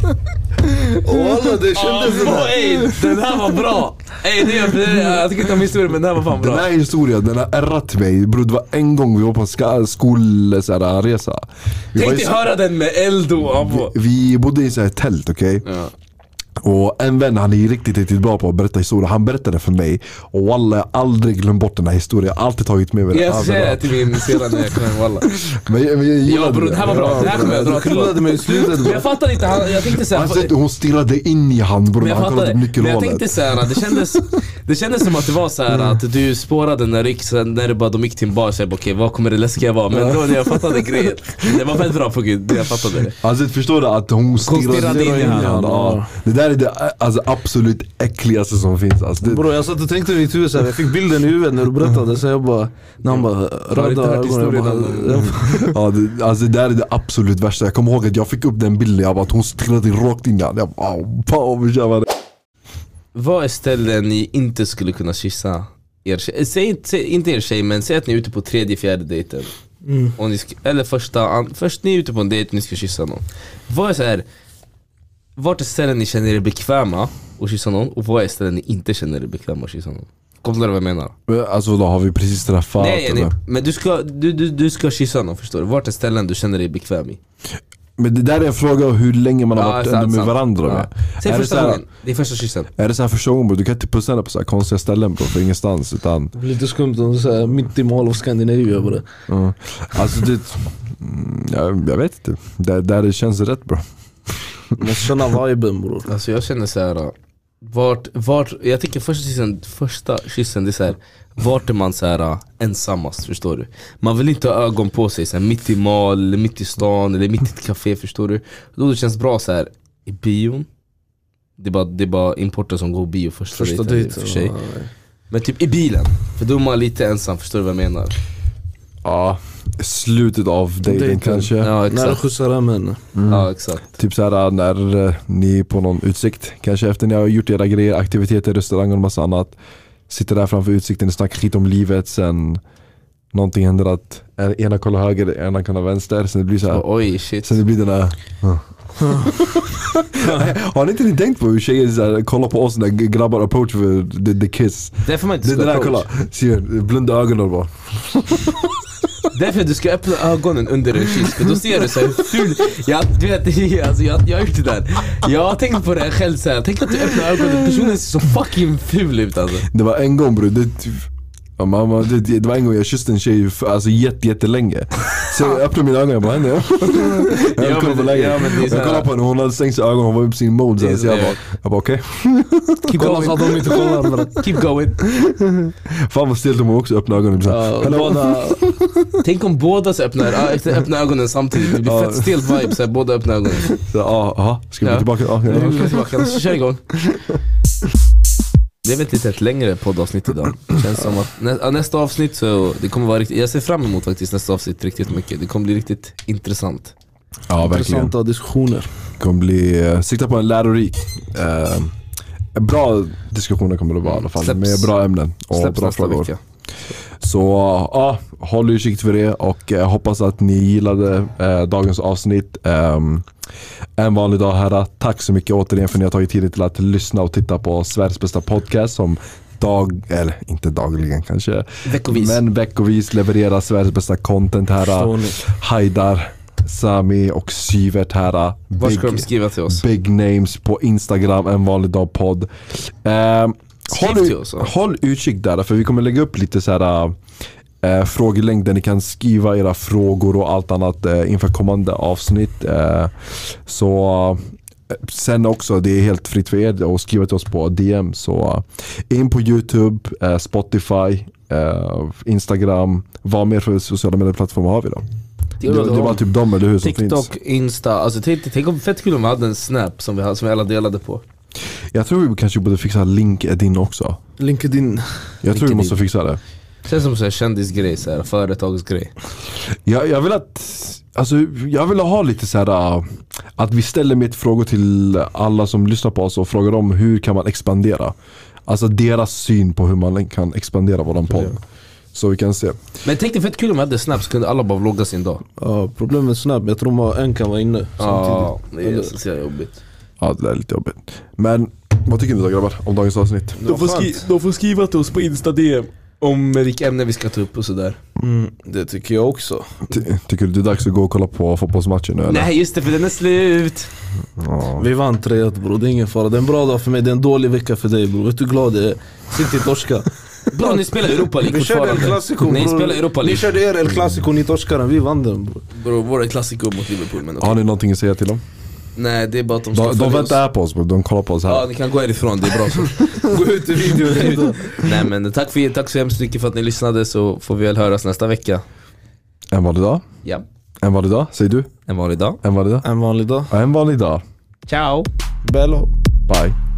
S1: Walla det
S5: Ah, boy, den här var bra! Ey det, det, jag tycker inte om historien men den här var fan
S1: Den
S5: bra.
S1: här historien, den har ärrat mig bror det var en gång vi var på ska- skolresa vi, var
S5: Tänk
S1: i-
S5: dig höra den med Eldo Abo.
S1: vi bodde i så här tält okej Och en vän han är riktigt riktigt bra på att berätta historier, han berättade för mig Och walla jag har aldrig glömt bort den här historien, jag har alltid tagit med mig den
S5: Jag säger det
S1: överallt.
S5: till min syrra när jag kommer hem walla.
S1: Men jag, men jag gillade
S5: Ja bror den här var bra, den här kommer jag dra
S3: Du
S5: till.
S3: knullade mig i slutet
S5: Men jag fattar inte, han- jag tänkte
S1: Han
S5: såhär
S1: satt, hon stirrade in i han bror,
S5: Men jag
S1: han kollade på
S5: fattar det. Men jag
S1: nyckelhålet
S5: tänkte såhär, det kändes, det kändes som att det var såhär att du spårade när, Rick, sen när det bara, de gick till en bar, så jag bara okej vad kommer det läskiga vara? Men då när jag fattade grejen, det var fett bra på gud, jag fattade det.
S1: Alltså förstår du att hon stirrade in i han? Ja. Det där är det alltså, absolut äckligaste som finns alltså, det,
S3: Bro, jag satt och tänkte i mitt huvud såhär, jag fick bilden i huvudet när du berättade så jag bara, när han bara röda ögonen, jag bara, jag bara
S1: ja, det, alltså, det där är det absolut värsta, jag kommer ihåg att jag fick upp den bilden, jag bara, att hon stirrade rakt in i han Jag bara, "Au, pow, grabbar."
S5: Vad är ställen ni inte skulle kunna kyssa er tjej? Eh, Säg, inte- säg inte er tjej men säg att ni är ute på tredje, fjärde dejten. Och ni ska, eller första, an, först ni är ute på en dejt och ni ska kyssa någon. Vad är såhär, vart är ställen ni känner er bekväma att kyssa någon och vad är ställen ni inte känner er bekväma att kyssa någon? Kopplar du vad jag menar?
S1: Men, Alltså då har vi precis träffat
S5: Nej, nej,
S1: eller?
S5: men du ska, du, du, du ska kyssa någon förstår du, vart är ställen du känner dig bekväm i?
S1: Men det där är en fråga om hur länge man har
S5: Ja,
S1: varit
S5: sant,
S1: ändå med
S5: sant.
S1: varandra
S5: Ja.
S1: med.
S5: Säg
S1: Är det så
S5: första
S1: här-
S5: gången, det är första kyssen
S1: Är det så här första gången bror, du kan inte pussa henne på så här konstiga ställen bror, för ingenstans utan
S3: Det blir lite skumt om du säger mitt i Mall of Scandinavia bara
S1: ja. Alltså det, mm, jag, jag vet inte, där, där det känns rätt bra
S3: Måste känna viben bror
S5: Alltså jag känner så här. Vart, vart, jag tycker första kyssen, första kyssen det är så här, vart är man så här ensammast förstår du? Man vill inte ha ögon på sig så här, mitt i mall, eller mitt i stan eller mitt i ett café förstår du? Då det känns bra så här i bion, det är bara, det är bara importen som går bio första,
S3: Första
S5: dejten, i och för
S3: dejten,
S5: sig.
S3: ja,
S5: Men typ i bilen, för då är man lite ensam förstår du vad jag menar?
S1: Ja, slutet av dejten
S3: Dejten.
S1: kanske
S5: Ja
S3: när du
S5: exakt,
S3: skjutsar hem henne
S5: ja, exakt.
S1: Typ såhär när eh, ni är på någon utsikt, kanske efter ni har gjort era grejer, aktiviteter, restaurang och massa annat Sitter där framför utsikten och snackar skit om livet sen Någonting händer att en- ena kollar höger, ena kollar vänster, sen det blir såhär
S5: Och, oj shit.
S1: Sen det blir den här Har ni inte ni tänkt på hur tjejer så här, kollar på oss när grabbar approach för the, the kiss?
S5: Därför man inte
S1: Det, det
S5: ska
S1: där
S5: approach.
S1: kolla, ser du? blunda ögonen bara
S5: Därför du ska öppna ögonen under en kyss, för då ser du så här hur ful... Jag, du vet, alltså jag, jag har gjort det där. Jag har tänkt på det här själv så här. tänk att du öppnar ögonen, personen ser så fucking ful ut alltså.
S1: Det var en gång bror, det, typ- ja, mamma, det, det var en gång jag kysste en tjej för, alltså, jätte, jättelänge Så jag öppnade mina ögon, jag bara vad händer?
S5: Ja,
S1: Jag kollade på
S5: men-
S1: läget,
S5: ja, men det är så
S1: jag
S5: här-
S1: kollade på henne, hon hade stängt sig ögonen, hon var uppe i sin mode
S5: Det är
S1: sen, så jag
S5: så
S1: bara, jag bara okej
S5: Keep
S3: Kolla så
S5: going,
S3: att de inte kollar bror
S5: keep going.
S1: Fan vad stelt om hon också öppnade ögonen typ så här,
S3: Ja,
S1: "Hello."
S3: båda-
S5: Tänk om båda så öppnar, ö- öppnar ögonen samtidigt, det blir fett stelt vibe så här, båda öppnar ögonen.
S1: Så, ja, aha, ska vi gå
S5: Ja.
S1: tillbaka? Ja,
S5: Nu
S1: ja.
S5: är vi tillbaka, så kör igång. Det är väl ett lite längre poddavsnitt idag. Känns som att nä, ja, nästa avsnitt så, det kommer vara riktigt, jag ser fram emot faktiskt nästa avsnitt riktigt mycket. Det kommer bli riktigt intressant.
S1: ja verkligen
S3: Intressanta diskussioner
S1: kommer bli, eh, sikta på en lärorik eh, Bra diskussioner kommer det vara i alla fall,
S5: Släpps-
S1: med bra ämnen och
S5: släpps
S1: bra
S5: nästa
S1: frågor
S5: vecka.
S1: Så ja, håll utkik för det och eh, hoppas att ni gillade eh, dagens avsnitt Ehm, En vanlig dag herrar, tack så mycket återigen för att ni har tagit tiden till att lyssna och titta på Sveriges bästa podcast som dag, eller inte dagligen kanske
S5: Veckovis.
S1: Men veckovis levererar Sveriges bästa content herrar
S3: Förstår ni?
S1: Haidar, Sami och Syvert herrar
S5: Var ska
S1: Big- Mm.
S5: de skriva till oss?
S1: Big names på Instagram, en vanlig dag podd. Ehm,
S5: Skriv
S1: håll,
S5: till
S1: u-
S5: oss, ja.
S1: håll utkik där, för vi kommer lägga upp lite så här eh, frågelängd där ni kan skriva era frågor och allt annat eh, inför kommande avsnitt. Eh, så eh, Sen också, det är helt fritt för er att skriva till oss på DM. Så eh, in på YouTube, eh, Spotify, eh, Instagram. Vad mer för sociala medieplattformar har vi då? Det,
S5: var
S1: det
S5: de.
S1: var typ de, eller hur? Som finns.
S5: TikTok, Insta, alltså tänk, tänk om fett kul om vi hade en snap som vi, som vi alla delade på
S1: Jag tror vi kanske borde fixa LinkedIn också.
S3: LinkedIn
S1: Jag tror vi måste fixa det.
S5: Känns som så här kändisgrej, så här, företagsgrej.
S1: Jag, jag vill att Alltså, jag vill ha lite så här äh, att vi ställer mitt frågor till alla som lyssnar på oss och frågar dem hur kan man expandera? Alltså deras syn på hur man kan expandera våran podd. Så vi kan se.
S5: Men tänk dig fett kul om vi hade snaps kunde alla bara vlogga sin dag.
S3: Ja, problemet är snabb, jag tror man- en kan vara inne
S5: Ja,
S3: samtidigt.
S5: det är så jävla jobbigt.
S1: Ja, det där är lite jobbigt. Men vad tycker ni då grabbar om dagens avsnitt?
S5: De får, skri- de får skriva till oss på Insta DM om vilka ämnen vi ska ta upp och sådär.
S3: Mm, det tycker jag också.
S1: Ty- tycker du det är dags att gå och kolla på fotbollsmatchen nu eller?
S5: Nej just det, för den är slut!
S1: Ja.
S3: Vi vann 3-1 bror, det är ingen fara. Det är en bra dag för mig, det är en dålig vecka för dig bror. Vet du hur glad jag är? Sitt i torska.
S5: Bra, ni spelar Europa League
S3: Vi körde El Clasico
S5: Nej,
S3: bror.
S5: spela Europa
S3: Ni
S5: League.
S3: körde er El Clasico, ni torskade den. Vi vann den bror.
S5: Bro, våra klassiker mot Liverpool men okej.
S1: Har ni någonting att säga till dem?
S5: Nej det är bara att de ska
S1: De, de
S5: följa
S1: väntar
S5: oss.
S1: här på oss, de kollar på oss
S5: Ja
S1: här.
S5: ni kan gå härifrån, det är bra så. Gå ut ur videon. Nej men tack, för, tack så hemskt mycket för att ni lyssnade så får vi väl höras nästa vecka.
S1: En vanlig dag,
S5: Ja,
S1: en vanlig dag, säger du?
S5: en vanlig dag.
S1: En vanlig dag?
S3: En vanlig dag.
S1: En vanlig dag.
S5: Ciao!
S3: Bello.
S1: Bye.